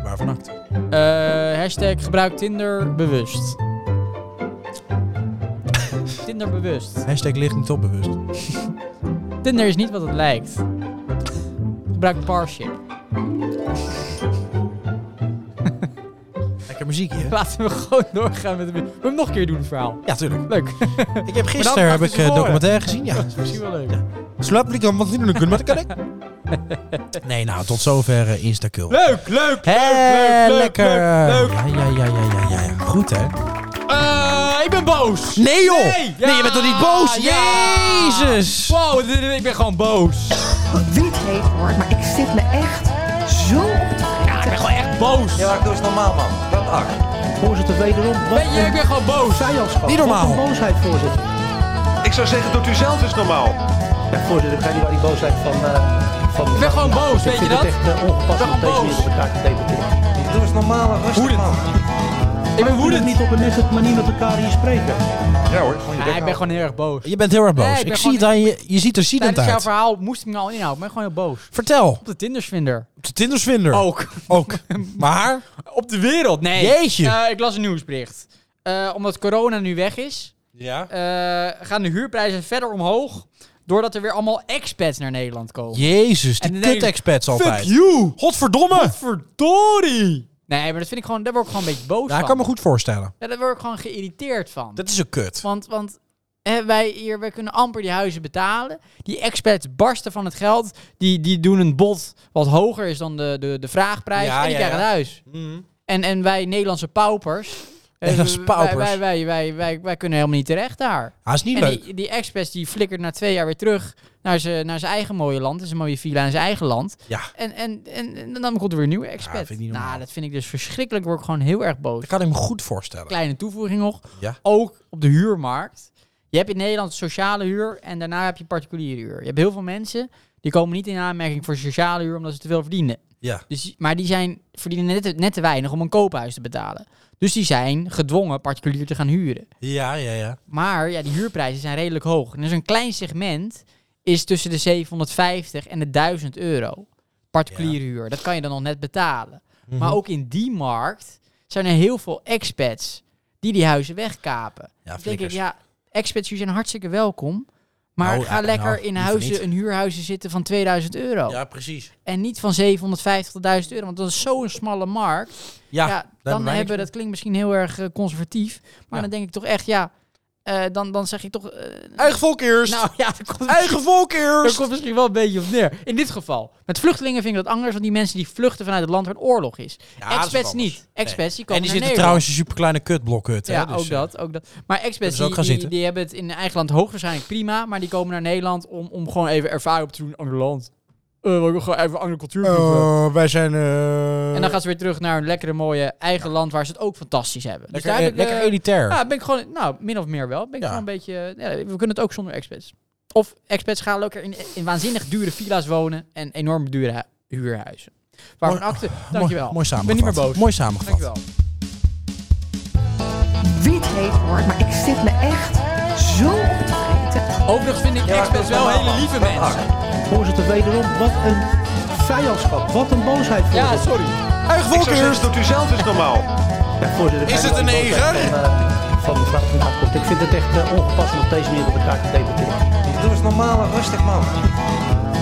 Speaker 1: Waarvan acte?
Speaker 2: Eh hashtag gebruik Tinder bewust. Tinder bewust.
Speaker 1: Hashtag ligt niet opbewust.
Speaker 2: Tinder is niet wat het lijkt. Gebruik Parship.
Speaker 1: Lekker muziekje, hè?
Speaker 2: Laten we gewoon doorgaan met het... Wil je hem nog een keer doen, het verhaal?
Speaker 1: Ja, tuurlijk.
Speaker 2: Leuk.
Speaker 1: Ik heb
Speaker 2: Maar
Speaker 1: gisteren
Speaker 2: dan
Speaker 1: heb
Speaker 2: achter
Speaker 1: ik
Speaker 2: ze
Speaker 1: eh,
Speaker 2: voren.
Speaker 1: documentaire gezien. Ja,
Speaker 2: Misschien wel leuk.
Speaker 1: Slaap ik dan wat niet doen kunnen, maar dat kan ik. Nee, nou, tot zover eh, Instacul.
Speaker 2: Leuk, leuk,
Speaker 1: Hé,
Speaker 2: leuk, leuk,
Speaker 1: lekker.
Speaker 2: leuk, leuk.
Speaker 1: Ja, ja, ja, ja, ja, ja, ja. Goed, hè?
Speaker 2: Eh, ik ben boos.
Speaker 1: Nee, joh! Nee,
Speaker 2: Nee, ja,
Speaker 1: je bent toch niet boos?
Speaker 2: ja.
Speaker 1: Jezus!
Speaker 2: Wow, Oh, dit- dit- ik ben gewoon boos.
Speaker 3: Wie het heeft hoort, maar ik zit me echt zo op te
Speaker 2: Ja, ik ben gewoon echt boos.
Speaker 4: Ja, maar doe eens normaal, man. Wat acht.
Speaker 5: Voorzitter, wederom. Wat
Speaker 2: Weet je, ik ben gewoon boos.
Speaker 5: vijandschap.
Speaker 1: Niet normaal.
Speaker 5: Wat een boosheid, voorzitter.
Speaker 4: Ik zou zeggen, doet u zelf eens normaal.
Speaker 5: Ja, voorzitter, ik ga niet waar die boosheid van... eh van
Speaker 2: Ik ben gewoon boos,
Speaker 5: Ik
Speaker 2: weet je
Speaker 5: vind
Speaker 2: dat?
Speaker 5: het echt eh, ongepast
Speaker 2: Ik ben
Speaker 5: om op deze
Speaker 2: gewoon
Speaker 5: manier met elkaar te debatteren.
Speaker 4: Doe eens normaal en rustig,
Speaker 2: Hoe dit-
Speaker 4: man.
Speaker 2: Ik ben
Speaker 5: Moet het
Speaker 2: woedend.
Speaker 5: niet op een nuchtere manier met elkaar hier spreken?
Speaker 4: Ja hoor, gewoon
Speaker 2: Ah,
Speaker 4: je bek
Speaker 2: ik ben
Speaker 4: houden.
Speaker 2: gewoon heel erg boos.
Speaker 1: Je bent heel erg boos.
Speaker 2: Nee, ik ben
Speaker 1: ik zie
Speaker 2: gewoon-
Speaker 1: het aan je. Je ziet er ziedend
Speaker 2: Tijdens jouw
Speaker 1: uit.
Speaker 2: verhaal moest ik me al inhouden. Ik ben gewoon heel boos.
Speaker 1: Vertel.
Speaker 2: Op de Tindersvinder.
Speaker 1: De Tindersvinder.
Speaker 2: Ook.
Speaker 1: Ook. Maar?
Speaker 2: Op de wereld, nee.
Speaker 1: Jeetje.
Speaker 2: Eh, ik las een nieuwsbericht. Eh, omdat corona nu weg is,
Speaker 1: Ja.
Speaker 2: eh, gaan de huurprijzen verder omhoog. Doordat er weer allemaal expats naar Nederland komen.
Speaker 1: Jezus,
Speaker 2: En
Speaker 1: die
Speaker 2: dan denk ik,
Speaker 1: kut-expats altijd.
Speaker 2: you!
Speaker 1: Godverdomme!
Speaker 2: Verdorie! Nee, maar dat vind ik gewoon, daar word ik gewoon een beetje boos
Speaker 1: Ja, ik
Speaker 2: van.
Speaker 1: kan me goed voorstellen.
Speaker 2: Ja, daar word ik gewoon geïrriteerd van.
Speaker 1: Dat is een kut.
Speaker 2: Want, want hè, wij hier, wij kunnen amper die huizen betalen. Die expats barsten van het geld. Die, die doen een bod wat hoger is dan de, de, de vraagprijs.
Speaker 1: Ja,
Speaker 2: en die
Speaker 1: ja,
Speaker 2: krijgen
Speaker 1: ja. Mhm.
Speaker 2: een huis. En, en wij Nederlandse paupers. eh,
Speaker 1: Nederlandse paupers.
Speaker 2: Wij, wij, wij, wij, wij, wij kunnen helemaal niet terecht daar.
Speaker 1: Hij is niet
Speaker 2: En
Speaker 1: leuk.
Speaker 2: die, die expats die flikkert na twee jaar weer terug naar zijn naar zijn eigen mooie land. Zijn mooie villa in zijn eigen land.
Speaker 1: Ja.
Speaker 2: En, en, en, en dan komt er weer een nieuwe expat.
Speaker 1: vind ik niet normaal.
Speaker 2: nou, dat vind ik dus verschrikkelijk. Word ik gewoon heel erg boos
Speaker 1: Dat kan ik me goed voorstellen.
Speaker 2: kleine toevoeging nog.
Speaker 1: Ja.
Speaker 2: Ook op de huurmarkt. Je hebt in Nederland sociale huur en daarna heb je particuliere huur. Je hebt heel veel mensen die komen niet in aanmerking voor sociale huur omdat ze te veel verdienen.
Speaker 1: Ja.
Speaker 2: Dus, maar die zijn, verdienen net, te- net te weinig om een koophuis te betalen. Dus die zijn gedwongen particulier te gaan huren.
Speaker 1: Ja, ja, ja.
Speaker 2: Maar ja, die huurprijzen zijn redelijk hoog. En dus een klein segment is tussen de 750 en de 1000 euro. Particuliere huur. Dat kan je dan nog net betalen.
Speaker 1: Mhm.
Speaker 2: Maar ook in die markt zijn er heel veel expats die die huizen wegkapen.
Speaker 1: Ja,
Speaker 2: Dan denk ik,
Speaker 1: flikkers.
Speaker 2: ja, expats jullie zijn hartstikke welkom. Maar
Speaker 1: Nou,
Speaker 2: ga
Speaker 1: ja,
Speaker 2: lekker
Speaker 1: nou,
Speaker 2: in
Speaker 1: liever niet.
Speaker 2: huizen, een huurhuizen zitten van 2000 euro.
Speaker 1: Ja, precies.
Speaker 2: En niet van 750.000 euro. Want dat is zo'n smalle markt ja,
Speaker 1: Ja, daar hebben
Speaker 2: dan
Speaker 1: wij
Speaker 2: hebben,
Speaker 1: niks
Speaker 2: dat klinkt misschien heel erg eh, conservatief, maar
Speaker 1: Ja.
Speaker 2: dan denk ik toch echt, ja, eh, dan, dan zeg je toch... eh,
Speaker 1: mee. Eigen volk eerst!
Speaker 2: nou ja, dat komt,
Speaker 1: Eigen volk
Speaker 2: daar
Speaker 1: eerst!
Speaker 2: komt misschien wel een beetje op neer. In dit geval. Met vluchtelingen vind ik dat anders, want die mensen die vluchten vanuit het land waar oorlog is.
Speaker 1: Ja, dat is wat
Speaker 2: expats
Speaker 1: anders.
Speaker 2: niet. Expats, die komen
Speaker 1: En die
Speaker 2: naar
Speaker 1: zitten
Speaker 2: Nederland.
Speaker 1: trouwens in een superkleine kutblokhut. hè,
Speaker 2: Ja,
Speaker 1: dus,
Speaker 2: ook dat, ook dat. Maar expats
Speaker 1: ze ook
Speaker 2: die,
Speaker 1: gaan
Speaker 2: die,
Speaker 1: zitten.
Speaker 2: die hebben het in eigen land hoogwaarschijnlijk prima, maar die komen naar Nederland om, om gewoon even ervaring op te doen in een ander land. Eh, we willen gewoon even andere cultuur
Speaker 1: Oh.
Speaker 2: proeven.
Speaker 1: Eh, wij zijn... eh,
Speaker 2: En dan gaan ze weer terug naar hun lekkere, mooie eigen land waar ze het ook fantastisch hebben. Dus
Speaker 1: Lekker,
Speaker 2: daar heb ik,
Speaker 1: lekker
Speaker 2: eh,
Speaker 1: elitair.
Speaker 2: Ja, ben ik gewoon, nou, min of meer wel. Ben ik
Speaker 1: Ja.
Speaker 2: gewoon een beetje, eh, ja, we kunnen het ook zonder expats. Of expats gaan lekker in, in waanzinnig dure villa's wonen en enorm dure hu- huurhuizen. Waarvan
Speaker 1: Mooi-
Speaker 2: acte,
Speaker 1: mooi,
Speaker 2: dankjewel.
Speaker 1: mooi
Speaker 2: Ik
Speaker 1: samengevat.
Speaker 2: ben niet meer boos.
Speaker 1: Mooi samengevat.
Speaker 2: Dankjewel.
Speaker 3: Wie het heeft hoort, maar ik zit me echt zo op te vreten.
Speaker 2: Overigens vind ik
Speaker 4: Ja, maar
Speaker 2: expats
Speaker 4: doe eens
Speaker 2: wel
Speaker 4: normaal,
Speaker 2: hele
Speaker 4: man.
Speaker 2: lieve
Speaker 4: Wat
Speaker 2: mensen.
Speaker 4: acht.
Speaker 5: Voorzitter, wederom. Wat een vijandschap. Wat een boosheid, voorzitter.
Speaker 2: Ja, sorry.
Speaker 1: Eigen
Speaker 4: Ik
Speaker 1: volk
Speaker 4: zou zeggen,
Speaker 1: eerst!
Speaker 4: doet u zelf eens normaal.
Speaker 5: Ja, voorzitter, ik
Speaker 1: Is
Speaker 5: ga
Speaker 1: het
Speaker 5: niet waar
Speaker 1: een
Speaker 5: die boosheid
Speaker 1: neger?
Speaker 5: Van, eh, van mevrouw van Gaal komt. Ik vind het echt eh, ongepast om op deze manier met elkaar te debatteren.
Speaker 4: Doe eens normaal en rustig, man.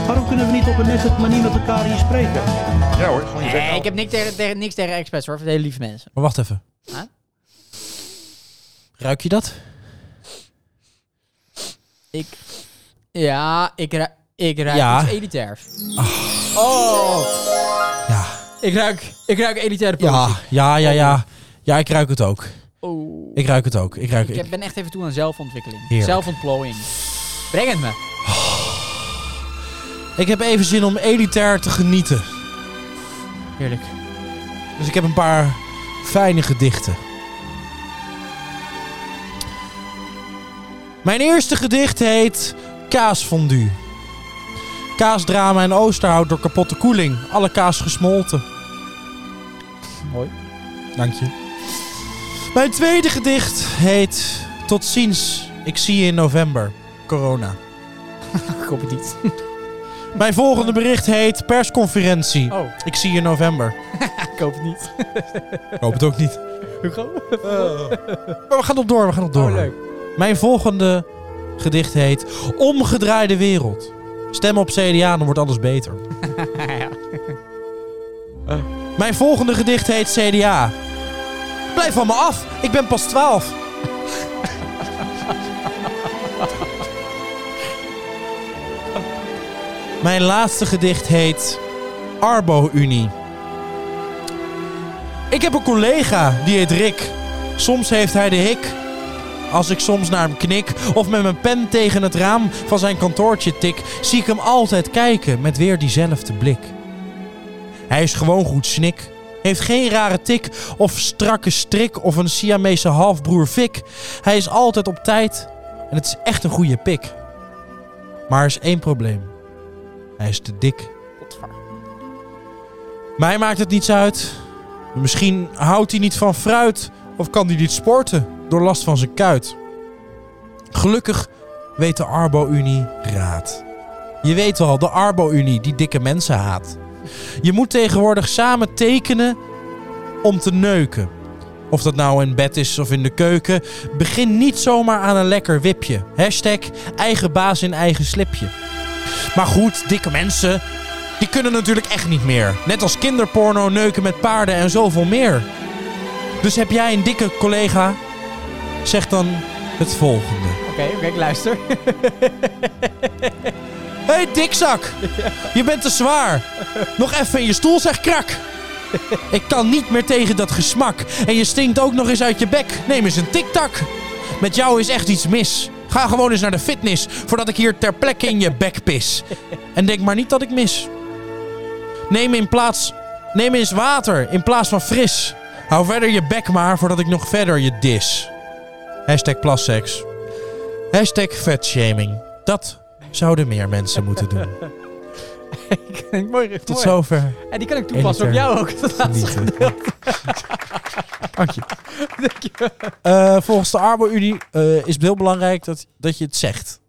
Speaker 5: Waarom kunnen we niet op een nuchtere manier met elkaar hier spreken?
Speaker 4: Ja hoor, gewoon je bek
Speaker 2: Nee, ik
Speaker 4: houden.
Speaker 2: heb niks tegen, tegen, niks tegen expats hoor, ik vind het hele lieve mensen.
Speaker 1: Maar wacht even.
Speaker 2: Huh?
Speaker 1: Ruik je dat?
Speaker 2: Ik, ja, ik, ru- ik ruik
Speaker 1: Ja. Ah.
Speaker 2: iets elitairs. Oh,
Speaker 1: Ja.
Speaker 2: ik ruik, ik ruik elitaire politiek.
Speaker 1: Ja, ja, ja, ja. Ja, ik ruik het ook.
Speaker 2: Oh.
Speaker 1: Ik ruik het ook. Ik ruik
Speaker 2: Ik heb- ben echt even toe aan zelfontwikkeling.
Speaker 1: Heerlijk.
Speaker 2: Zelfontplooiing. Breng het me.
Speaker 1: Ik heb even zin om elitair te genieten.
Speaker 2: Heerlijk.
Speaker 1: Dus ik heb een paar fijne gedichten. Mijn eerste gedicht heet Kaasfondue. Kaasdrama en oosterhout door kapotte koeling. Alle kaas gesmolten.
Speaker 2: Mooi.
Speaker 1: Dank je. Mijn tweede gedicht heet Tot ziens, ik zie je in november. Corona.
Speaker 2: Ik hoop het niet.
Speaker 1: Mijn volgende bericht heet persconferentie.
Speaker 2: Oh,
Speaker 1: Ik zie je in november.
Speaker 2: ik hoop het niet.
Speaker 1: Ik hoop het ook niet. Oh.
Speaker 2: Hugo?
Speaker 1: Maar we gaan nog door, we gaan nog door.
Speaker 2: Oh, leuk.
Speaker 1: Mijn volgende gedicht heet Omgedraaide wereld. Stem op CDA, dan wordt alles beter. Mijn volgende gedicht heet CDA. Blijf van me af, ik ben pas 12. Mijn laatste gedicht heet Arbo-Unie. Ik heb een collega, die heet Rick. Soms heeft hij de hik. Als ik soms naar hem knik of met mijn pen tegen het raam van zijn kantoortje tik, zie ik hem altijd kijken met weer diezelfde blik. Hij is gewoon goed snik, heeft geen rare tik of strakke strik of een Siamese halfbroer fik. Hij is altijd op tijd en het is echt een goede pik. Maar er is één probleem. Hij is te dik. Mij maakt het niets uit. Misschien houdt hij niet van fruit of kan hij niet sporten door last van zijn kuit. Gelukkig weet de Arbo-Unie raad. Je weet wel, de Arbo-Unie die dikke mensen haat. Je moet tegenwoordig samen tekenen om te neuken. Of dat nou in bed is of in de keuken. Begin niet zomaar aan een lekker wipje. Hashtag eigen baas in eigen slipje. Maar goed, dikke mensen, die kunnen natuurlijk echt niet meer. Net als kinderporno, neuken met paarden en zoveel meer. Dus heb jij een dikke collega? Zeg dan het volgende.
Speaker 2: Oké, oké, ik luister.
Speaker 1: Hé, hey, dikzak! Je bent te zwaar. Nog even in je stoel, zeg krak. Ik kan niet meer tegen dat gesmak. En je stinkt ook nog eens uit je bek. Neem eens een tiktak. Met jou is echt iets mis. Ga gewoon eens naar de fitness voordat ik hier ter plekke in je bek pis. En denk maar niet dat ik mis. Neem in plaats. Neem eens water in plaats van fris. Hou verder je bek maar voordat ik nog verder je dis. Hashtag plasseks. Hashtag vetshaming. Dat zouden meer mensen moeten doen.
Speaker 2: mooi, Ruud,
Speaker 1: Tot
Speaker 2: mooi.
Speaker 1: zover.
Speaker 2: En die kan ik toepassen op
Speaker 1: Editor.
Speaker 2: jou ook. Dat laatste
Speaker 1: Genieten.
Speaker 2: gedeelte.
Speaker 1: Dank je.
Speaker 2: Dank je.
Speaker 1: Eh, volgens de Arbo-Unie eh, is het heel belangrijk dat, dat je het zegt.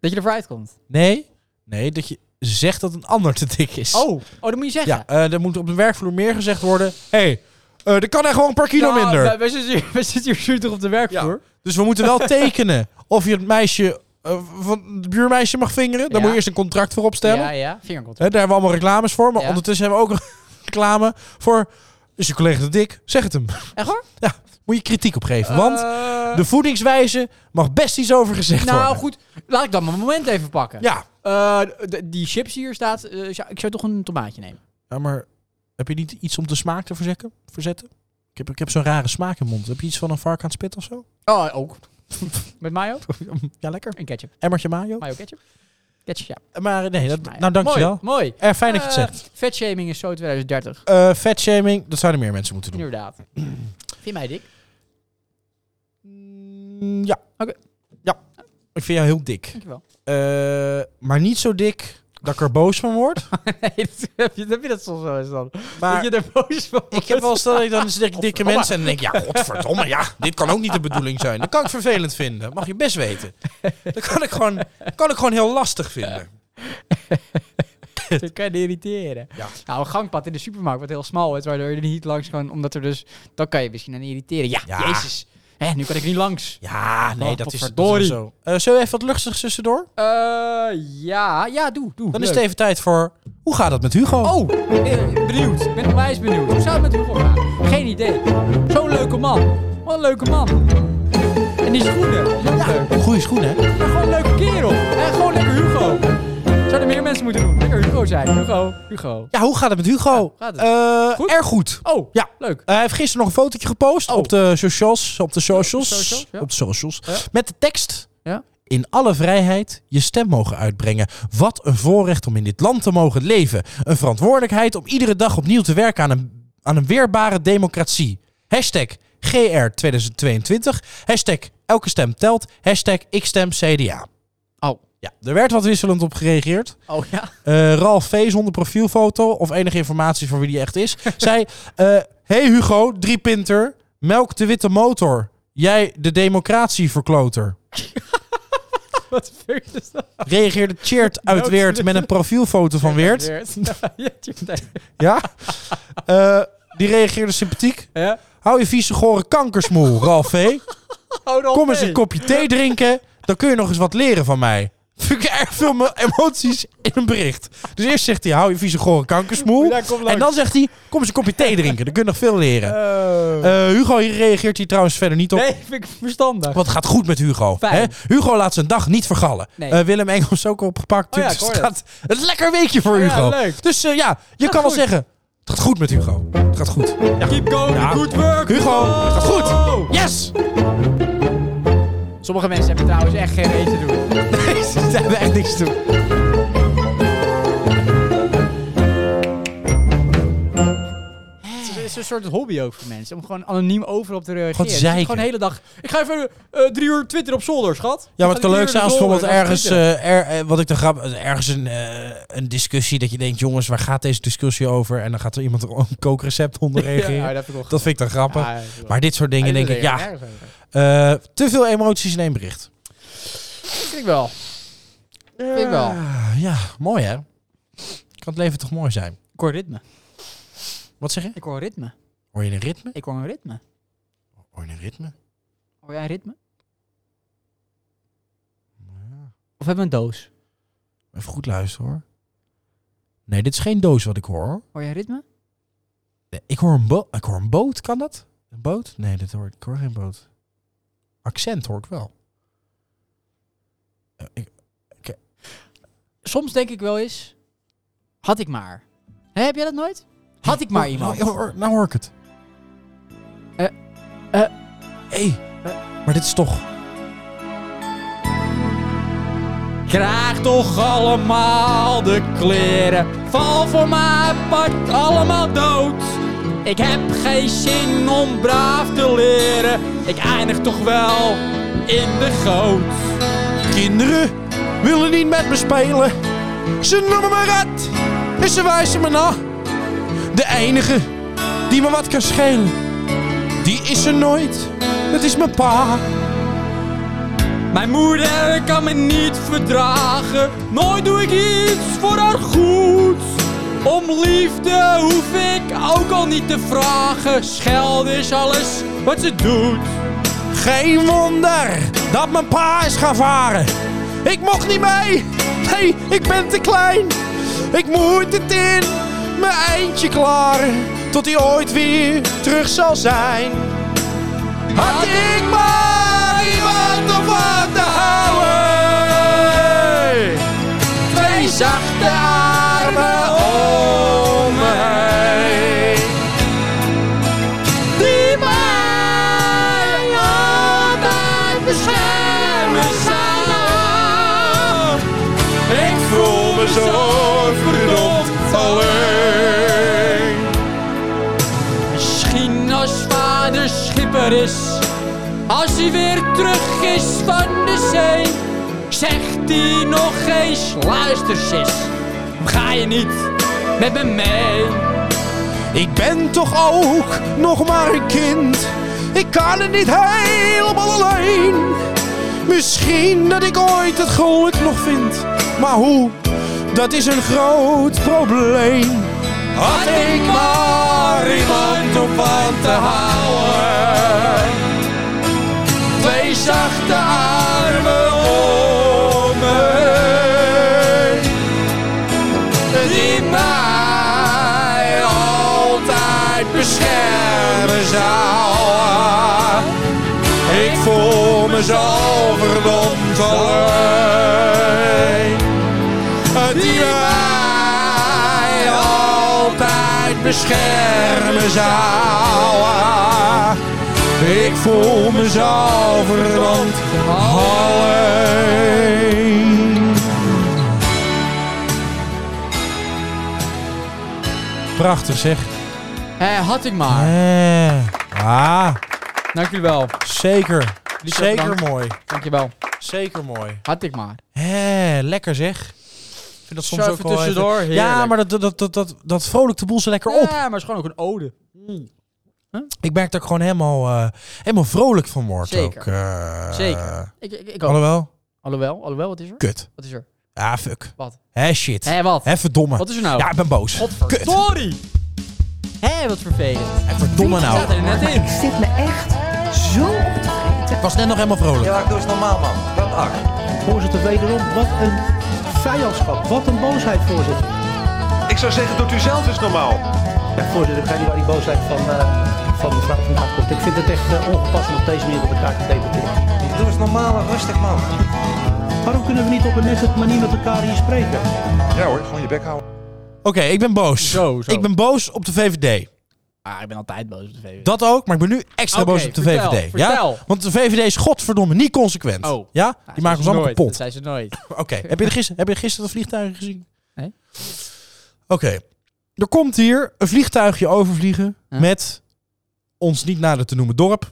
Speaker 2: Dat je ervoor uitkomt.
Speaker 1: Nee? Nee, dat je zegt dat een ander te dik is.
Speaker 2: Oh, oh dat moet je zeggen.
Speaker 1: Ja, eh, er moet op de werkvloer meer gezegd worden. Hé, hey, eh, er kan er gewoon een paar kilo
Speaker 2: Nou,
Speaker 1: minder.
Speaker 2: wij- Wij zitten hier- wij zitten hier zuur op de werkvloer.
Speaker 1: Dus we moeten wel tekenen of je het meisje eh, van het buurmeisje mag vingeren. Daar
Speaker 2: Ja.
Speaker 1: moet je eerst een contract voor opstellen.
Speaker 2: ja. Vingercontrole.
Speaker 1: Hè, daar hebben we allemaal reclames voor. Maar
Speaker 2: Ja.
Speaker 1: ondertussen hebben we ook een reclame voor... Is je collega te dik? Zeg het hem.
Speaker 2: Echt hoor?
Speaker 1: Moet je kritiek op geven. Want
Speaker 2: Eh,
Speaker 1: de voedingswijze mag best iets over gezegd worden.
Speaker 2: nou goed, laat ik dan mijn moment even pakken.
Speaker 1: Ja,
Speaker 2: Eh, d- die chips die hier staat, eh, zou- ik zou toch een tomaatje nemen.
Speaker 1: Ja, maar heb je niet iets om de smaak te verzetten? verzetten? Ik heb, ik heb zo'n rare smaak in mijn mond. Heb je iets van een vark aan het spit of zo?
Speaker 2: Oh, ook. Met mayo
Speaker 1: Ja, lekker.
Speaker 2: en ketchup.
Speaker 1: Emmertje mayo.
Speaker 2: Mayo ketchup. Ketchup, ja.
Speaker 1: Maar nee, dat,
Speaker 2: mayo.
Speaker 1: nou dankjewel.
Speaker 2: Mooi, mooi.
Speaker 1: Erg fijn dat je het
Speaker 2: Eh,
Speaker 1: zegt.
Speaker 2: Vetshaming is zo 2030.
Speaker 1: Eh vetshaming, dat zouden meer mensen moeten doen.
Speaker 2: Inderdaad. Vind mij dik?
Speaker 1: Mm, Ja.
Speaker 2: Oké.
Speaker 1: Ja. Ik vind jou heel dik.
Speaker 2: Dankjewel.
Speaker 1: Eh, maar niet zo dik dat ik er boos van word.
Speaker 2: Nee, dat heb je, dat heb je dat soms wel eens dan.
Speaker 1: Maar
Speaker 2: dat je er boos van
Speaker 1: ik heb wel eens dat ik dan eens denk, dikke
Speaker 2: Godverdomme.
Speaker 1: mensen en dan denk ik, ja, godverdomme, ja, dit kan ook niet de bedoeling zijn. Dat kan ik vervelend vinden, mag je best weten. Dat kan ik gewoon, kan ik gewoon heel lastig vinden.
Speaker 2: wordt. Dat kan je irriteren.
Speaker 1: Ja.
Speaker 2: Nou, een gangpad in de supermarkt wordt heel smal. Is, waardoor je er niet langs kan. Omdat er dus... Dan kan je misschien aan irriteren. Ja,
Speaker 1: Ja.
Speaker 2: jezus. Hè, nu kan ik niet langs.
Speaker 1: Ja, nee,
Speaker 2: Oh,
Speaker 1: dat is, dat
Speaker 2: potverdorie.
Speaker 1: is zo. Eh, zullen we even wat luchtigs tussendoor?
Speaker 2: Eh, ja, ja, doe. doe
Speaker 1: Dan is
Speaker 2: Leuk.
Speaker 1: het even tijd voor... Hoe gaat het met Hugo?
Speaker 2: Oh, eh, benieuwd. Ik ben onwijs benieuwd. Hoe zou het met Hugo gaan? Geen idee. Zo'n leuke man. Wat een leuke man. En die schoenen. Dat is ook leuk.
Speaker 1: Goeie schoen, hè?
Speaker 2: Maar gewoon een leuke kerel. En gewoon lekker Hugo. Zouden meer mensen moeten doen. Lekker Hugo zijn. Hugo. Hugo.
Speaker 1: Ja, hoe gaat het met Hugo?
Speaker 2: Ja, gaat het?
Speaker 1: Eh,
Speaker 2: Goed?
Speaker 1: Erg goed.
Speaker 2: Oh,
Speaker 1: Ja.
Speaker 2: leuk.
Speaker 1: Eh, hij heeft gisteren nog een fotootje gepost
Speaker 2: Oh.
Speaker 1: op de socials. Op de socials.
Speaker 2: Socials, ja.
Speaker 1: Op de socials.
Speaker 2: Ja.
Speaker 1: Met de tekst.
Speaker 2: Ja.
Speaker 1: in alle vrijheid je stem mogen uitbrengen. Wat een voorrecht om in dit land te mogen leven. Een verantwoordelijkheid om iedere dag opnieuw te werken aan een, aan een weerbare democratie. Hashtag GR 2022. Hashtag elke stem telt. Hashtag ik stem CDA.
Speaker 2: Oh.
Speaker 1: Ja, er werd wat wisselend op gereageerd.
Speaker 2: Oh ja.
Speaker 1: Eh Ralf V. zonder profielfoto of enige informatie van wie die echt is. zei: eh, Hey Hugo, drie pinter, melk de witte motor. Jij de democratie verkloter.
Speaker 2: Wat fuck is dat?
Speaker 1: Reageerde Cheert uit
Speaker 2: de
Speaker 1: Weert met een profielfoto van Weert. Ja? Eh, die reageerde sympathiek.
Speaker 2: Ja.
Speaker 1: Hou je vieze gore kankersmoel, Ralf V. Kom eens een
Speaker 2: kop.
Speaker 1: kopje thee drinken. Dan kun je nog eens wat leren van mij. Vind ik erg veel me- emoties in een bericht. Dus eerst zegt hij, hou je vieze gore kankersmoel.
Speaker 2: Ja, kom langs.
Speaker 1: En dan zegt hij, kom eens een kopje thee drinken. Dan kun je nog veel leren. Eh, Hugo hier reageert hier trouwens verder niet op.
Speaker 2: Oh. Nee, vind ik verstandig.
Speaker 1: Wat gaat goed met Hugo?
Speaker 2: Fijn.
Speaker 1: Hè? Hugo laat zijn dag niet vergallen.
Speaker 2: Nee.
Speaker 1: Eh, Willem Engels ook opgepakt.
Speaker 2: Oh ja,
Speaker 1: Dus
Speaker 2: ik hoor Oh
Speaker 1: het gaat een lekker weekje voor
Speaker 2: Ja,
Speaker 1: Hugo.
Speaker 2: leuk.
Speaker 1: Dus eh, ja, je kan
Speaker 2: goed.
Speaker 1: wel zeggen, het gaat goed met Hugo. Het gaat goed. Ja.
Speaker 2: Keep going,
Speaker 1: Ja.
Speaker 2: good work.
Speaker 1: Hugo, het gaat goed. Yes!
Speaker 2: Sommige mensen hebben trouwens echt geen reet te doen.
Speaker 1: Ze hebben echt niks te doen.
Speaker 2: Het is een soort hobby ook voor mensen. Om gewoon anoniem overal te reageren.
Speaker 1: Gewoon
Speaker 2: Dus
Speaker 1: zeiken.
Speaker 2: Gewoon de hele dag. Ik ga even eh, drie uur Twitter op zolder, schat.
Speaker 1: Ja,
Speaker 2: Dan
Speaker 1: wat
Speaker 2: ga
Speaker 1: kan
Speaker 2: ik
Speaker 1: leuk
Speaker 2: drie
Speaker 1: zijn
Speaker 2: uur
Speaker 1: als
Speaker 2: op
Speaker 1: bijvoorbeeld
Speaker 2: zolder en dan
Speaker 1: ergens,
Speaker 2: Twitter.
Speaker 1: eh, er- eh, wat ik dan grap, ergens een, eh, een discussie dat je denkt, jongens, waar gaat deze discussie over? En dan gaat er iemand er een kookrecept onder reageren.
Speaker 2: Ja, dat vind ik wel
Speaker 1: Dat vind ik dan grappig.
Speaker 2: Ja, ja, dat is wel-
Speaker 1: Maar dit soort dingen
Speaker 2: Ja,
Speaker 1: denk ik,
Speaker 2: iedereen
Speaker 1: ja,
Speaker 2: gaat nergens over.
Speaker 1: eh, te veel emoties in één bericht.
Speaker 2: Dat vind ik wel. Vind ik wel.
Speaker 1: Ah, ja, mooi hè? Kan het leven toch mooi zijn?
Speaker 2: Ik hoor ritme.
Speaker 1: Wat zeg je?
Speaker 2: Ik hoor ritme.
Speaker 1: Hoor je een ritme?
Speaker 2: Ik hoor een ritme.
Speaker 1: Hoor je een ritme?
Speaker 2: Hoor jij een ritme? Of hebben we een doos?
Speaker 1: Even goed luisteren hoor. Nee, dit is geen doos wat ik hoor. hoor.
Speaker 2: Hoor jij een ritme?
Speaker 1: Nee, ik, hoor een bo- ik hoor een boot, kan dat? Een boot? Nee, dat hoor ik. ik hoor geen boot. Accent hoor ik wel. Eh, ik-
Speaker 2: Soms denk ik wel eens... Had ik maar. Hè, heb jij dat nooit? Had ik maar
Speaker 1: Oh,
Speaker 2: iemand.
Speaker 1: Nou, hoor- nou hoor ik het.
Speaker 2: Eh, eh.
Speaker 1: Hé, maar dit is toch...
Speaker 2: oh. Krijg toch allemaal de kleren. Val voor mij part allemaal dood. Ik heb geen zin om braaf te leren. Ik eindig toch wel in de goot.
Speaker 1: Kinderen willen niet met me spelen. Ze noemen me rat en ze wijzen me na. De enige die me wat kan schelen, die is er nooit. Dat is mijn pa.
Speaker 2: Mijn moeder kan me niet verdragen. Nooit doe ik iets voor haar goed. Om liefde hoef ik ook al niet te vragen. Schelden is alles wat ze doet.
Speaker 1: Geen wonder dat mijn pa is gaan varen. Ik mocht niet mee. Nee, ik ben te klein. Ik moet het in mijn eindje klaren. Tot hij ooit weer terug zal zijn. Had ik maar iemand om van te houden. Twee zachte armen om me heen. Die mij altijd beschermen zou. Ik voel me zo verdomd alleen.
Speaker 2: Misschien als vader schipper is, als hij weer terug is van de zee, zegt hij nog eens: luister, sis, ga je niet met me mee?
Speaker 1: Ik ben toch ook nog maar een kind. Ik kan het niet helemaal alleen. Misschien dat ik ooit het geluk nog vind. Maar hoe? Dat is een groot probleem. Had ik maar iemand om van te houden. Twee zachte armen om me heen die mij altijd beschermen zou. Ik voel me zo verdomd alleen. Die mij altijd beschermen zou. Ik voel mezelf verbrand alleen. Prachtig zeg.
Speaker 2: Eh, had ik maar.
Speaker 1: Ja, ah,
Speaker 2: Dank jullie wel.
Speaker 1: zeker.
Speaker 2: Jullie ook
Speaker 1: Zeker
Speaker 2: bedankt.
Speaker 1: mooi.
Speaker 2: Dank je wel.
Speaker 1: Zeker mooi.
Speaker 2: Had ik maar.
Speaker 1: Hé, lekker zeg. Ik vind dat soms
Speaker 2: Zo
Speaker 1: ook
Speaker 2: even
Speaker 1: wel
Speaker 2: tussendoor,
Speaker 1: even- Ja,
Speaker 2: heerlijk.
Speaker 1: maar dat, dat, dat, dat, dat vrolijkt de boel zo lekker op.
Speaker 2: Ja, maar het is gewoon ook een ode.
Speaker 1: Ik merk dat ik gewoon helemaal, eh, helemaal vrolijk van word
Speaker 2: Zeker.
Speaker 1: ook. eh.
Speaker 2: Zeker. Ik, ik, ik ook.
Speaker 1: Alhoewel,
Speaker 2: Alhoewel, alhoewel, wat is er?
Speaker 1: kut.
Speaker 2: Wat is er?
Speaker 1: Ah, fuck.
Speaker 2: Wat?
Speaker 1: Hé, shit.
Speaker 2: Hé, wat?
Speaker 1: Hé, verdomme.
Speaker 2: Wat is er nou?
Speaker 1: Ja, ik ben boos. Kut.
Speaker 2: Godverdorie! Hé, wat vervelend.
Speaker 1: Hé, verdomme
Speaker 2: Staat
Speaker 1: nou.
Speaker 2: er net in.
Speaker 3: Ik zit me echt zo op te eten.
Speaker 1: Ik was net nog helemaal vrolijk.
Speaker 4: Ja, doe eens normaal, man. Dat acht.
Speaker 5: Voorzitter, wederom, wat een vijandschap. Wat een boosheid, voorzitter.
Speaker 4: Ik zou zeggen, doet u zelf eens normaal.
Speaker 5: Ja, voorzitter, ik weet niet waar die boosheid van, eh, van mevrouw vandaan komt. Ik vind het echt eh, ongepast om op deze manier met elkaar te debatteren.
Speaker 4: Doe eens normaal en rustig, man.
Speaker 5: Waarom kunnen we niet op een nette manier met elkaar hier spreken?
Speaker 4: Ja hoor, gewoon je bek houden.
Speaker 1: Oké, ik ben boos.
Speaker 2: Zo, zo.
Speaker 1: Ik ben boos op de VVD.
Speaker 2: Ah, ik ben altijd boos op de VVD.
Speaker 1: Dat ook, maar ik ben nu extra
Speaker 2: Oké,
Speaker 1: boos op de
Speaker 2: vertel,
Speaker 1: VVD.
Speaker 2: vertel.
Speaker 1: Ja? Want de VVD is godverdomme niet consequent.
Speaker 2: Oh.
Speaker 1: Ja?
Speaker 2: Nou,
Speaker 1: Die
Speaker 2: dat
Speaker 1: maken
Speaker 2: zijn
Speaker 1: ons
Speaker 2: ze
Speaker 1: allemaal
Speaker 2: nooit.
Speaker 1: kapot.
Speaker 2: Dat zijn ze nooit.
Speaker 1: Oké, heb, je er gister- heb je gisteren de vliegtuigen gezien?
Speaker 2: Nee.
Speaker 1: Oké, er komt hier een vliegtuigje overvliegen
Speaker 2: Ja.
Speaker 1: met ons niet nader te noemen dorp,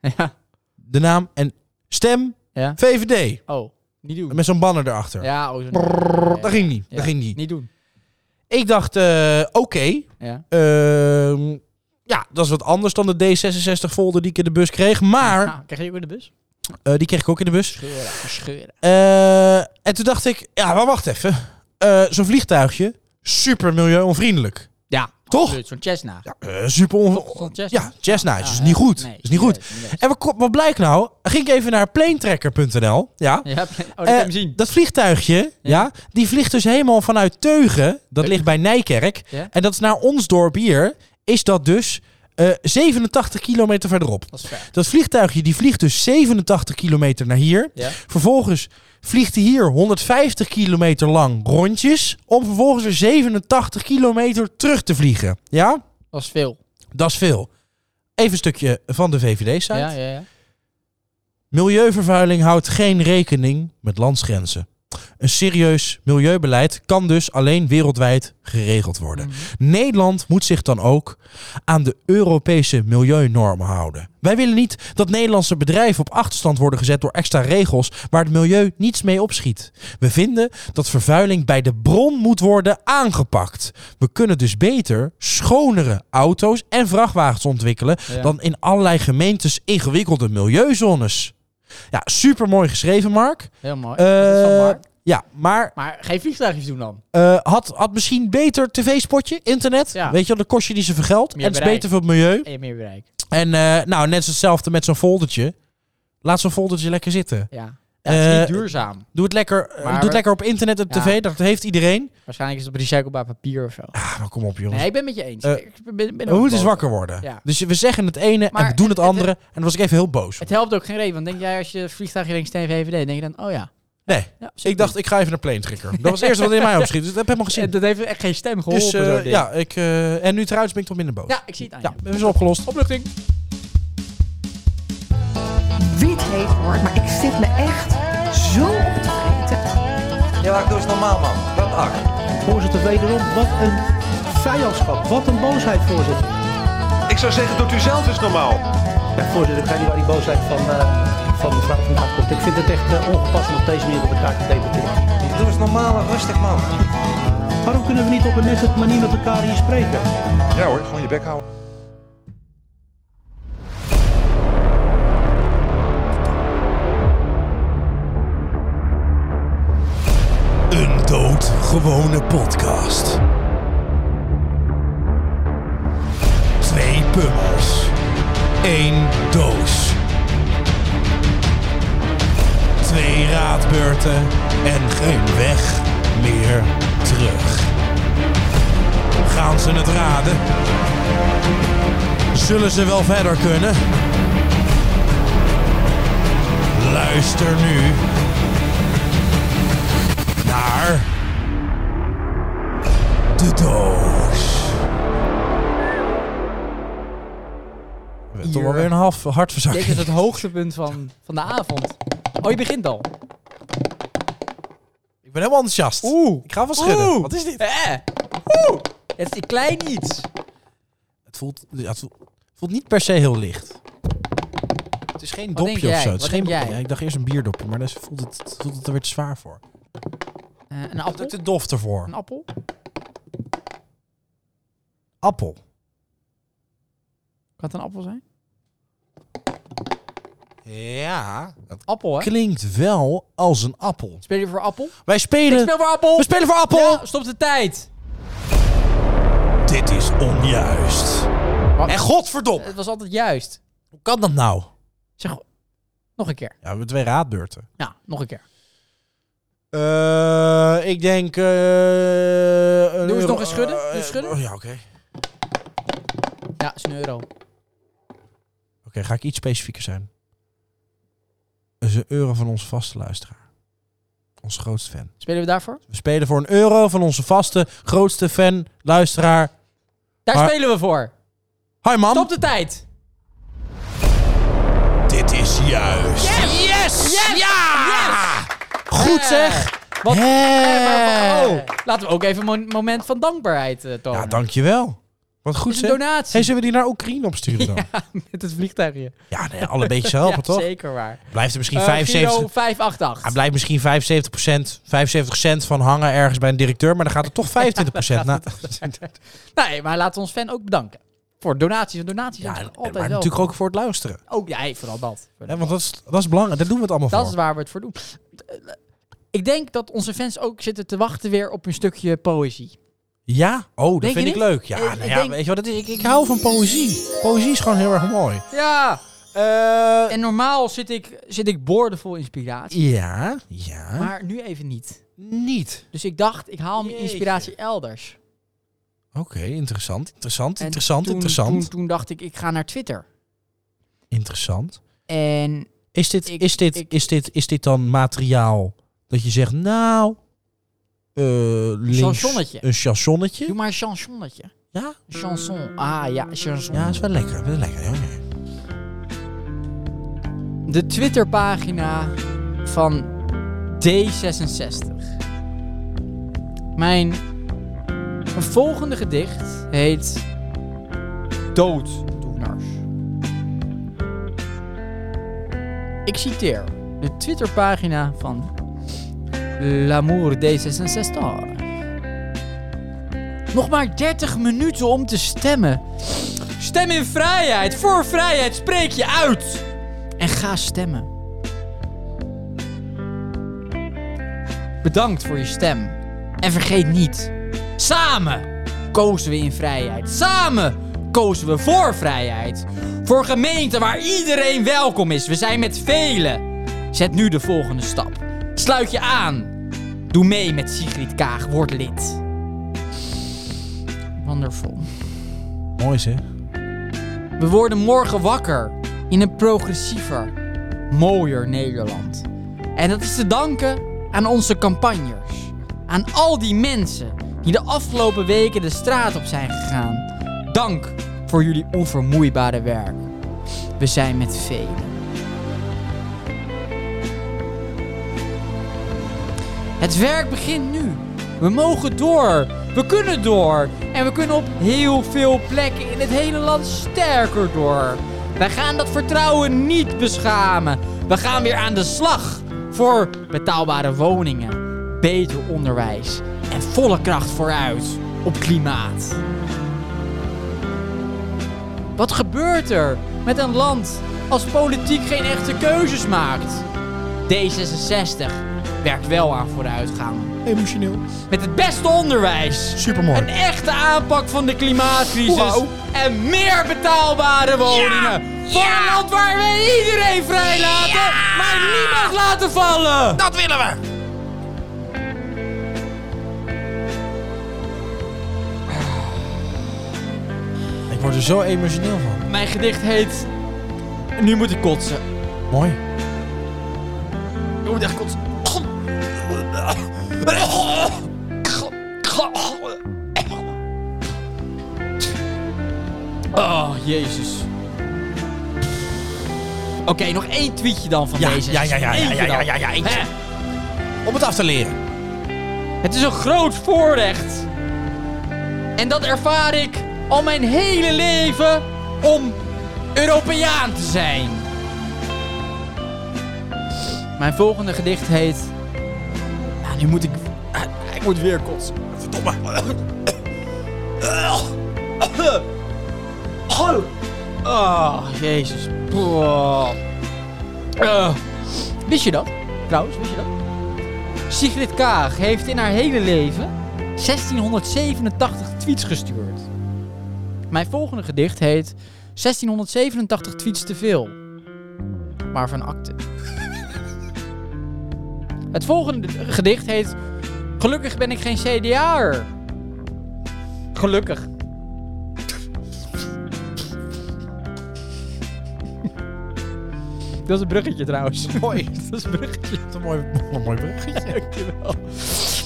Speaker 2: ja.
Speaker 1: de naam en stem
Speaker 2: Ja.
Speaker 1: VVD.
Speaker 2: Oh, niet doen.
Speaker 1: Met zo'n banner erachter.
Speaker 2: Ja, oh, zo.
Speaker 1: Dat ging niet,
Speaker 2: Ja.
Speaker 1: dat ging niet.
Speaker 2: Niet doen.
Speaker 1: Ik dacht, eh, oké,
Speaker 2: Ja.
Speaker 1: ehm, ja, dat is wat anders dan de D66-folder die ik in de bus kreeg, maar
Speaker 2: Ah, krijg je ook in de bus?
Speaker 1: eh, die kreeg ik ook in de bus.
Speaker 2: Scheuren, scheuren.
Speaker 1: Eh, en toen dacht ik, ja, maar wacht even. Eh, zo'n vliegtuigje, super milieuonvriendelijk.
Speaker 2: Ja.
Speaker 1: Toch?
Speaker 2: absoluut, Oh. Zo'n Cessna.
Speaker 1: Oh. Ja, eh, super
Speaker 2: Toch? Een
Speaker 1: on...
Speaker 2: Cessna?
Speaker 1: Ja, Cessna. Het
Speaker 2: Ah,
Speaker 1: is
Speaker 2: ja.
Speaker 1: niet goed.
Speaker 2: Nee,
Speaker 1: Het is niet goed.
Speaker 2: juist, juist.
Speaker 1: En wat, ko- wat blijkt nou? Ging ik even naar planetracker.nl. Ja.
Speaker 2: Ja, oh, dat kan
Speaker 1: Eh,
Speaker 2: je hem zien.
Speaker 1: dat vliegtuigje, ja. die vliegt dus helemaal vanuit Teugen. Dat ligt bij Nijkerk.
Speaker 2: Ja.
Speaker 1: En dat is naar ons dorp hier. Is dat dus eh, 87 kilometer verderop.
Speaker 2: Dat is ver.
Speaker 1: Dat vliegtuigje die vliegt dus 87 kilometer naar hier.
Speaker 2: Ja.
Speaker 1: Vervolgens vliegt hij hier 150 kilometer lang rondjes. Om vervolgens er 87 kilometer terug te vliegen. Ja,
Speaker 2: Dat is veel.
Speaker 1: dat is veel. Even een stukje van de VVD-site.
Speaker 2: Ja, ja, ja.
Speaker 1: Milieuvervuiling houdt geen rekening met landsgrenzen. Een serieus milieubeleid kan dus alleen wereldwijd geregeld worden.
Speaker 2: Mhm.
Speaker 1: Nederland moet zich dan ook aan de Europese milieunormen houden. Wij willen niet dat Nederlandse bedrijven op achterstand worden gezet door extra regels waar het milieu niets mee opschiet. We vinden dat vervuiling bij de bron moet worden aangepakt. We kunnen dus beter schonere auto's en vrachtwagens ontwikkelen
Speaker 2: Ja.
Speaker 1: dan in allerlei gemeentes ingewikkelde milieuzones. Ja, super mooi geschreven, Mark.
Speaker 2: Heel mooi. dat is van
Speaker 1: Eh,
Speaker 2: Mark.
Speaker 1: Ja, maar
Speaker 2: Maar geen vliegtuigjes doen dan.
Speaker 1: eh, had, had misschien beter tv-spotje, internet.
Speaker 2: Ja.
Speaker 1: Weet je, wel, dan kost je niet zoveel geld.
Speaker 2: Meer
Speaker 1: en het is
Speaker 2: bereik.
Speaker 1: beter voor het milieu.
Speaker 2: En je hebt meer bereik.
Speaker 1: En eh, nou, net hetzelfde met zo'n foldertje. Laat zo'n foldertje lekker zitten.
Speaker 2: Ja. ja het is niet
Speaker 1: Eh,
Speaker 2: duurzaam.
Speaker 1: Doe het lekker, eh,
Speaker 2: Maar
Speaker 1: doe het
Speaker 2: we-
Speaker 1: lekker op internet en
Speaker 2: Ja.
Speaker 1: tv. Dat heeft iedereen.
Speaker 2: Waarschijnlijk is het op recyclebaar papier of zo.
Speaker 1: Ah, maar kom op, jongens.
Speaker 2: Nee, ik ben met je eens.
Speaker 1: Eh,
Speaker 2: ik ben, ben
Speaker 1: we
Speaker 2: ook
Speaker 1: moeten eens
Speaker 2: boos.
Speaker 1: wakker worden.
Speaker 2: Ja.
Speaker 1: Dus we zeggen het ene en
Speaker 2: Maar
Speaker 1: we doen het,
Speaker 2: het- het-
Speaker 1: andere. en dan was ik even heel boos.
Speaker 2: Het helpt ook geen reden. Want denk jij als je vliegtuigje denkt steen VVD, denk je dan, oh ja.
Speaker 1: nee,
Speaker 2: ja zeker.
Speaker 1: ik dacht, ik ga even naar Planetrigger. Dat was het eerste wat in mij opschiet. Dus dat heb ik helemaal
Speaker 2: Eh,
Speaker 1: gezien.
Speaker 2: dat heeft echt geen stem geholpen.
Speaker 1: Dus eh,
Speaker 2: zo'n ding.
Speaker 1: ja, ik, eh, en nu trouwens ben ik toch minder boos.
Speaker 2: ja, ik zie het aan
Speaker 1: ja
Speaker 2: je.
Speaker 1: dat is opgelost.
Speaker 2: Opluchting.
Speaker 3: Wie het heet hoort, maar ik zit me echt zo op te eten.
Speaker 4: Ja, doe eens normaal, man. Dat acht.
Speaker 5: Voorzitter, wederom, wat een vijandschap. Wat een boosheid, voorzitter.
Speaker 4: Ik zou zeggen, doet u zelf eens normaal.
Speaker 5: Ja, voorzitter, ik weet niet waar die boosheid van, eh, van mevrouw vandaan komt. Ik vind het echt eh, ongepast om op deze manier met elkaar te debatteren.
Speaker 4: Doe eens normaal en rustig, man.
Speaker 5: Waarom kunnen we niet op een nette manier met elkaar hier spreken?
Speaker 4: Ja hoor, gewoon je bek houden.
Speaker 1: Een doodgewone podcast. Twee pummels. Eén doos. Twee raadbeurten en geen weg meer terug. Gaan ze het raden? Zullen ze wel verder kunnen? Luister nu naar de doos. bent
Speaker 2: Hier.
Speaker 1: toch wel weer een half hard
Speaker 2: Ik denk
Speaker 1: verzakking.
Speaker 2: dat het hoogtepunt van, van de avond. Oh, je begint al.
Speaker 1: Ik ben helemaal enthousiast.
Speaker 2: Oeh.
Speaker 1: Ik ga wel schudden.
Speaker 2: Oeh.
Speaker 1: Wat is dit?
Speaker 2: Eh. Oeh. Het is die klein iets.
Speaker 1: Het voelt, ja, het voelt, het voelt niet per se heel licht. Het is geen
Speaker 2: Wat denk
Speaker 1: dopje
Speaker 2: jij?
Speaker 1: of zo. Het is
Speaker 2: Wat
Speaker 1: geen,
Speaker 2: denk jij?
Speaker 1: Ja, ik dacht eerst een bierdopje, maar daar voelt het, voelt het er weer te zwaar voor.
Speaker 2: Eh, een
Speaker 1: Het is
Speaker 2: appel.
Speaker 1: te dof ervoor.
Speaker 2: Een appel.
Speaker 1: Appel.
Speaker 2: Kan het een appel zijn?
Speaker 1: Ja. Dat
Speaker 2: Appel, hè?
Speaker 1: klinkt wel als een appel.
Speaker 2: Speel je voor appel?
Speaker 1: Wij
Speaker 2: Ik
Speaker 1: spelen...
Speaker 2: speel voor appel.
Speaker 1: We spelen voor appel!
Speaker 2: Ja, stop de tijd.
Speaker 1: Dit is onjuist. En godverdomme,
Speaker 2: Het was altijd juist.
Speaker 1: hoe kan dat nou?
Speaker 2: Zeg, nog een keer.
Speaker 1: Ja, we hebben twee raadbeurten.
Speaker 2: Ja, nog een keer.
Speaker 1: Eh, ik denk... eh Doe
Speaker 2: eens nog eens schudden. Doe eens schudden.
Speaker 1: Eh, oh, ja, oké.
Speaker 2: Ja, is een euro.
Speaker 1: Oké, ga ik iets specifieker zijn. Dat is een euro van onze vaste luisteraar. Onze grootste fan.
Speaker 2: Spelen we daarvoor?
Speaker 1: We spelen voor een euro van onze vaste, grootste fan, luisteraar.
Speaker 2: Daar
Speaker 1: Maar-
Speaker 2: spelen we voor.
Speaker 1: Hi mam.
Speaker 2: Stop de tijd.
Speaker 1: Dit is juist. Yes!
Speaker 2: Yes!
Speaker 1: Ja!
Speaker 2: Yes!
Speaker 1: Goed
Speaker 2: Eh,
Speaker 1: zeg.
Speaker 2: Wat?
Speaker 1: Hè.
Speaker 2: Eh, oh, laten we ook even een mo- moment van dankbaarheid eh, tonen.
Speaker 1: Ja, dankjewel. Wat goed
Speaker 2: Dit is een
Speaker 1: zeg.
Speaker 2: donatie.
Speaker 1: Hey, zullen we die naar Oekraïne opsturen dan? Ja,
Speaker 2: Met het vliegtuigje.
Speaker 1: nee, alle beetjes helpen
Speaker 2: ja,
Speaker 1: toch?
Speaker 2: zeker waar.
Speaker 1: Blijft er misschien
Speaker 2: Eh,
Speaker 1: 75...
Speaker 2: Giro 588.
Speaker 1: Hij blijft misschien 75 75 cent van hangen ergens bij een directeur, maar dan gaat er toch 25 naar.
Speaker 2: Nee, maar laten we ons fan ook bedanken. Voor donaties en donaties.
Speaker 1: Ja,
Speaker 2: zijn
Speaker 1: en-
Speaker 2: altijd
Speaker 1: maar
Speaker 2: wel.
Speaker 1: natuurlijk ook voor het luisteren.
Speaker 2: Ook, ja, hey, vooral dat.
Speaker 1: Hè, want dat is, dat is belangrijk, daar doen we het allemaal
Speaker 2: Dat
Speaker 1: voor.
Speaker 2: is waar we het voor doen. Ik denk dat onze fans ook zitten te wachten weer op een stukje poëzie.
Speaker 1: Ja? Oh, dat
Speaker 2: Denk je
Speaker 1: vind ik
Speaker 2: niet?
Speaker 1: leuk. Ja,
Speaker 2: Eh,
Speaker 1: nou
Speaker 2: ik
Speaker 1: ja
Speaker 2: denk-
Speaker 1: weet je wat, dat is, ik, ik hou van poëzie. Poëzie is gewoon heel erg mooi.
Speaker 2: Ja!
Speaker 1: Eh,
Speaker 2: En normaal zit ik, zit ik boordevol inspiratie.
Speaker 1: ja, ja.
Speaker 2: Maar nu even niet.
Speaker 1: niet.
Speaker 2: Dus ik dacht, ik haal mijn
Speaker 1: Jeetje.
Speaker 2: inspiratie elders.
Speaker 1: Oké, interessant, interessant,
Speaker 2: En
Speaker 1: interessant,
Speaker 2: toen-
Speaker 1: interessant.
Speaker 2: Toen, toen dacht ik, ik ga naar Twitter.
Speaker 1: Interessant.
Speaker 2: En
Speaker 1: Is dit,
Speaker 2: Ik-
Speaker 1: is, dit,
Speaker 2: ik-
Speaker 1: is, dit, is dit dan materiaal dat je zegt, nou... eh, links,
Speaker 2: chansonnetje.
Speaker 1: Een chansonnetje.
Speaker 2: doe maar een chansonnetje.
Speaker 1: Ja?
Speaker 2: Chanson. Ah ja, chanson.
Speaker 1: Ja, is wel lekker. Wel lekker. Ja,
Speaker 2: De Twitterpagina van D66. Mijn volgende gedicht heet Dooddoeners. Ik citeer de Twitterpagina van L'amour D66. Nog maar 30 minuten om te stemmen. Stem in vrijheid. Voor vrijheid spreek je uit en ga stemmen. Bedankt voor je stem. En vergeet niet, samen kozen we in vrijheid. Samen kozen we voor vrijheid. Voor gemeenten waar iedereen welkom is. We zijn met velen. Zet nu de volgende stap. Sluit je aan. Doe mee met Sigrid Kaag. Word lid. Wonderful.
Speaker 1: Mooi zeg.
Speaker 2: We worden morgen wakker in een progressiever, mooier Nederland. En dat is te danken aan onze campagnes. Aan al die mensen die de afgelopen weken de straat op zijn gegaan. Dank voor jullie onvermoeibare werk. We zijn met velen. Het werk begint nu. We mogen door. We kunnen door. En we kunnen op heel veel plekken in het hele land sterker door. Wij gaan dat vertrouwen niet beschamen. We gaan weer aan de slag voor betaalbare woningen, beter onderwijs en volle kracht vooruit op klimaat. Wat gebeurt er met een land als politiek geen echte keuzes maakt? D66 werkt wel aan vooruitgang.
Speaker 1: Emotioneel.
Speaker 2: Met het beste onderwijs.
Speaker 1: Supermooi.
Speaker 2: Een echte aanpak van de klimaatcrisis. En meer betaalbare woningen. Voor een land waar we iedereen vrij laten, maar niemand laten vallen.
Speaker 1: Dat willen we! Ik word er zo emotioneel van.
Speaker 2: Mijn gedicht heet... Nu moet ik kotsen.
Speaker 1: Mooi.
Speaker 2: Ik moet echt kotsen. Oh, Jezus. Oké, nog één tweetje dan van
Speaker 1: Ja,
Speaker 2: deze.
Speaker 1: ja, ja, ja, ja, ja, ja, ja, ja, eentje. Om het af te leren.
Speaker 2: Het is een groot voorrecht. En dat ervaar ik al mijn hele leven om Europeaan te zijn. Mijn volgende gedicht heet. Nou, nu moet ik. Ah, Ik moet weer kotsen. Verdomme. Oh, jezus. Oh. Eh, wist je dat? Trouwens, wist je dat? Sigrid Kaag heeft in haar hele leven 1687 tweets gestuurd. Mijn volgende gedicht heet 1687 tweets te veel. Maar van acte. Het volgende gedicht heet Gelukkig ben ik geen CDA'er. Gelukkig. Dat is een bruggetje trouwens. Mooi. Dat is een bruggetje.
Speaker 1: Wat een mooi, mooi bruggetje.
Speaker 2: Dankjewel.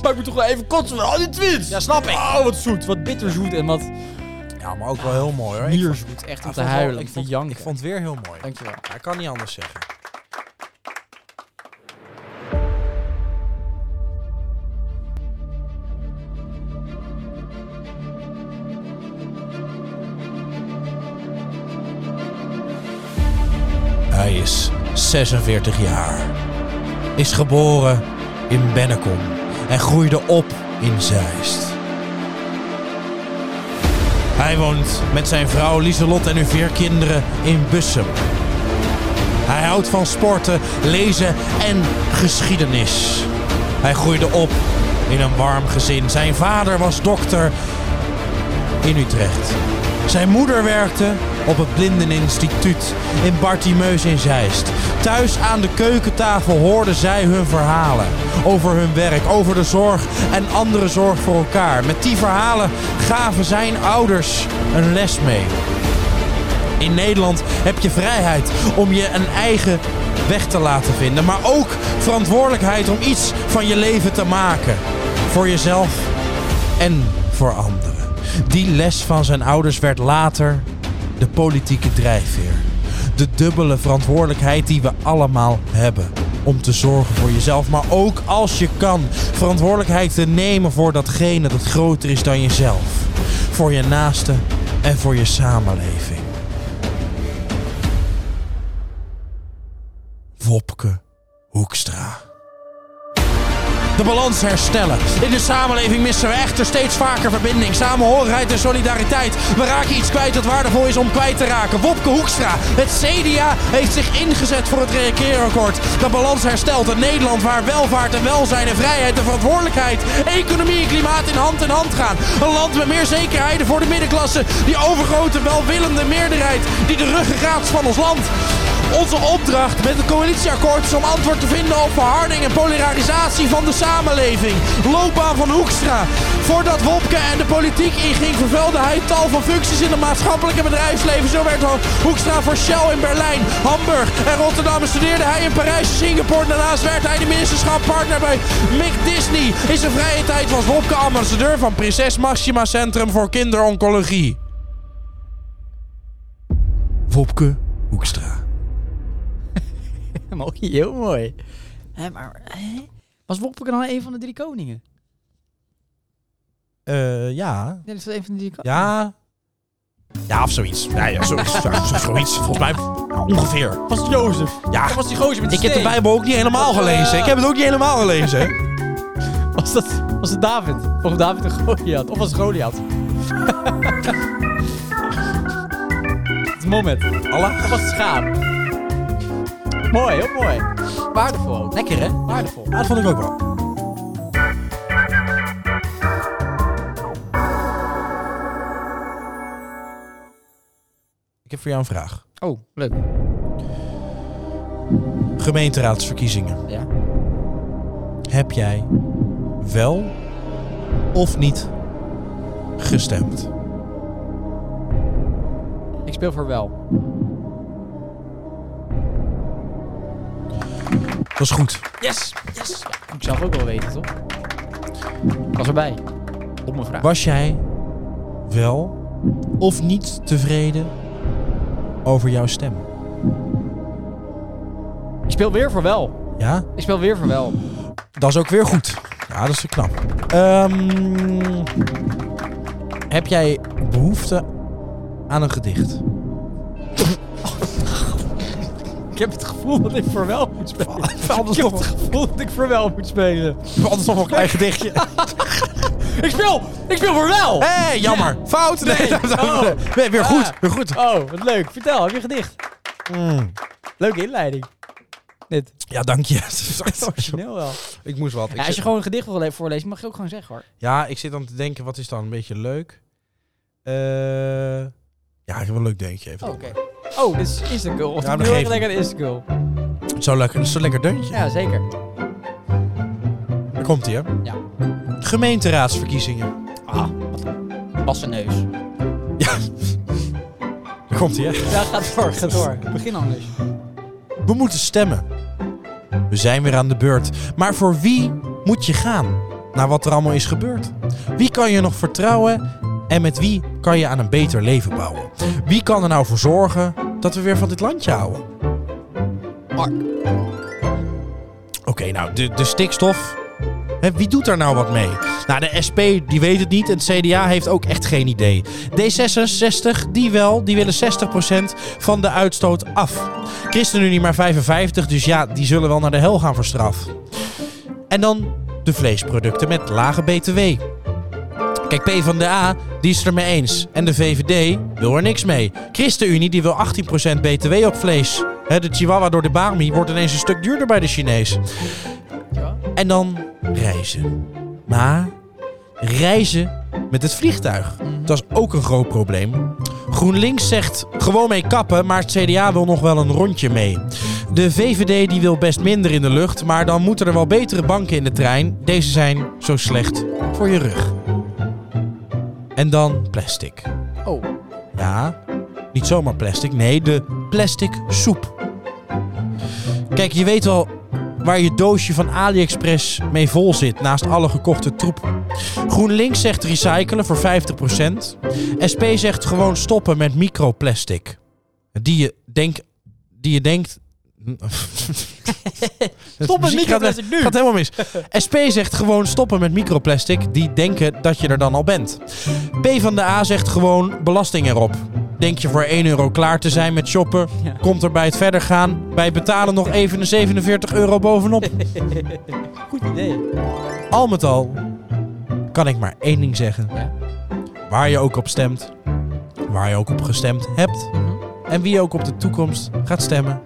Speaker 2: Maar ik moet toch wel even kotsen van al die tweets. Ja, snap ik. Oh, wat zoet. Wat bitterzoet en wat Ah,
Speaker 1: Ja, maar ook wel heel mooi hoor. Ik vond-
Speaker 2: nierzoet. Echt om
Speaker 1: ik
Speaker 2: te
Speaker 1: vond wel-
Speaker 2: huilen, om
Speaker 1: Ik
Speaker 2: te
Speaker 1: vond,
Speaker 2: janken.
Speaker 1: ik vond het weer heel mooi.
Speaker 2: Dankjewel.
Speaker 1: Ja, ik kan niet anders zeggen. Hij is 46 jaar. Is geboren in Bennekom en groeide op in Zeist. Hij woont met zijn vrouw Lieselot en hun vier kinderen in Bussum. Hij houdt van sporten, lezen en geschiedenis. Hij groeide op in een warm gezin. Zijn vader was dokter in Utrecht. Zijn moeder werkte op het Blindeninstituut in Bartimeus in Zeist. Thuis aan de keukentafel hoorden zij hun verhalen. Over hun werk, over de zorg en andere zorg voor elkaar. Met die verhalen gaven zijn ouders een les mee. In Nederland heb je vrijheid om je een eigen weg te laten vinden, maar ook verantwoordelijkheid om iets van je leven te maken. Voor jezelf en voor anderen. Die les van zijn ouders werd later de politieke drijfveer. De dubbele verantwoordelijkheid die we allemaal hebben. Om te zorgen voor jezelf, maar ook als je kan, verantwoordelijkheid te nemen voor datgene dat groter is dan jezelf. Voor je naasten en voor je samenleving. Wopke Hoekstra. De balans herstellen. In de samenleving missen we echter steeds vaker verbinding, samenhorigheid en solidariteit. We raken iets kwijt dat waardevol is om kwijt te raken. Wopke Hoekstra, het CDA, heeft zich ingezet voor het reageerakkoord. De balans herstelt een Nederland waar welvaart en welzijn en vrijheid en verantwoordelijkheid, economie en klimaat in hand in hand gaan. Een land met meer zekerheden voor de middenklasse, die overgrote welwillende meerderheid, die de ruggengraat van ons land. Onze opdracht met het coalitieakkoord is om antwoord te vinden op verharding en polarisatie van de samenleving. Loopbaan van Hoekstra. Voordat Wopke en de politiek inging, vervulde hij tal van functies in het maatschappelijke bedrijfsleven. Zo werd Hoekstra voor Shell in Berlijn, Hamburg en Rotterdam. En studeerde hij in Parijs en Singapore. Daarnaast werd hij de ministerschappartner bij Mick Disney. In zijn vrije tijd was Wopke ambassadeur van Prinses Maxima Centrum voor Kinderoncologie. Wopke Hoekstra.
Speaker 2: Mooi, heel mooi. Hè, maar, hè? Was Wopke dan een van de drie koningen?
Speaker 1: Eh, ja.
Speaker 2: Nee, dat was een van de drie koningen.
Speaker 1: Ja. Ja, of zoiets. Ja, ja, zoiets. Ja, zo- zoiets. Volgens mij ja, ongeveer.
Speaker 2: Was het Jozef?
Speaker 1: Ja.
Speaker 2: Dat was die gozer met die
Speaker 1: Ik heb de
Speaker 2: steen.
Speaker 1: Bijbel ook niet helemaal
Speaker 2: Of, eh,
Speaker 1: gelezen. Ik heb het ook niet helemaal gelezen.
Speaker 2: Was, dat, was het David? Of David een Goliath? Of was het Goliath? het is moment.
Speaker 1: Allah.
Speaker 2: Of was het schaap? Mooi, heel mooi. Waardevol. ook.
Speaker 1: Lekker, hè? Ja,
Speaker 2: Waardevol.
Speaker 1: dat vond ik ook wel. Ik heb voor jou een vraag.
Speaker 2: Oh, leuk.
Speaker 1: Gemeenteraadsverkiezingen.
Speaker 2: Ja.
Speaker 1: Heb jij wel of niet gestemd?
Speaker 2: Ik speel voor wel.
Speaker 1: Dat is goed.
Speaker 2: Yes, yes. Ja, moet ik zelf ook wel weten, toch? Ik was erbij. Op mijn vraag.
Speaker 1: Was jij wel of niet tevreden over jouw stem?
Speaker 2: speel weer voor wel.
Speaker 1: Ja,
Speaker 2: Ik speel weer voor wel.
Speaker 1: dat is ook weer goed. Ja, dat is knap. Ehm, heb jij behoefte aan een gedicht?
Speaker 2: Ik heb het gevoel dat ik voor wel moet spelen.
Speaker 1: Anders
Speaker 2: Ik heb
Speaker 1: nog,
Speaker 2: het gevoel dat ik voor wel moet spelen.
Speaker 1: anders nog een klein gedichtje.
Speaker 2: Oh. Ik speel! Ik speel voor wel!
Speaker 1: Hé, hey, jammer. Fout. Nee,
Speaker 2: Nee.
Speaker 1: dat- dat-
Speaker 2: Oh.
Speaker 1: nee, weer goed.
Speaker 2: Ah.
Speaker 1: Weer goed.
Speaker 2: Oh, wat leuk. Vertel, heb je een gedicht? Mm. Leuke inleiding. Dit.
Speaker 1: Ja, dank je.
Speaker 2: Origineel wel.
Speaker 1: ik moest wat. Ik
Speaker 2: Ja, als
Speaker 1: zit-
Speaker 2: je gewoon een gedicht wil le- voorlezen, mag je ook gewoon zeggen hoor.
Speaker 1: Ja, ik zit aan te denken, wat is dan een beetje leuk? Eh, ja, ik heb een leuk deuntje even.
Speaker 2: Oh, Oké. Oh, dit is Instant Girl.
Speaker 1: Ja,
Speaker 2: Ja, heel
Speaker 1: dat
Speaker 2: erg
Speaker 1: geeft
Speaker 2: lekker Instant Girl.
Speaker 1: Zo lekker, zo lekker deuntje.
Speaker 2: Ja, zeker.
Speaker 1: Daar komt ie, hè?
Speaker 2: Ja.
Speaker 1: Gemeenteraadsverkiezingen.
Speaker 2: Ah, was een neus.
Speaker 1: Ja. Daar komt ie, hè?
Speaker 2: Ja, ga door, ga door. Begin anders.
Speaker 1: Dus We moeten stemmen. We zijn weer aan de beurt. Maar voor wie moet je gaan? Naar wat er allemaal is gebeurd? Wie kan je nog vertrouwen? En met wie kan je aan een beter leven bouwen? Wie kan er nou voor zorgen dat we weer van dit landje houden?
Speaker 2: Mark.
Speaker 1: Oké, nou, de, de stikstof. Hè, wie doet daar nou wat mee? Nou, de SP die weet het niet en het CDA heeft ook echt geen idee. D66, die wel, die willen 60% van de uitstoot af. ChristenUnie maar 55, dus ja, die zullen wel naar de hel gaan voor straf. En dan de vleesproducten met lage BTW. Kijk, PvdA, die is het er mee eens. En de VVD wil er niks mee. ChristenUnie, die wil 18% BTW op vlees. Hè, de chihuahua door de Bami wordt ineens een stuk duurder bij de Chinees. En dan reizen. Maar reizen met het vliegtuig. Dat is ook een groot probleem. GroenLinks zegt gewoon mee kappen, maar het CDA wil nog wel een rondje mee. De VVD die wil best minder in de lucht, maar dan moeten er wel betere banken in de trein. Deze zijn zo slecht voor je rug. En dan plastic.
Speaker 2: Oh.
Speaker 1: Ja, niet zomaar plastic. Nee, de plastic soep. Kijk, je weet wel waar je doosje van AliExpress mee vol zit naast alle gekochte troep. GroenLinks zegt recyclen voor 50%. SP zegt gewoon stoppen met microplastic. Die je, denk, die je denkt...
Speaker 2: Stop met
Speaker 1: Muziek gaat-
Speaker 2: microplastic nu!
Speaker 1: Gaat helemaal mis. SP zegt gewoon stoppen met microplastic. Die denken dat je er dan al bent. P van de A zegt gewoon belasting erop. Denk je voor 1 euro klaar te zijn met shoppen?
Speaker 2: Ja.
Speaker 1: Komt er bij het verder gaan bij betalen nog even een 47 euro bovenop?
Speaker 2: Goed idee.
Speaker 1: Al met al kan ik maar één ding zeggen.
Speaker 2: Ja.
Speaker 1: Waar je ook op stemt, waar je ook op gestemd hebt
Speaker 2: Mhm.
Speaker 1: en wie ook op de toekomst gaat stemmen.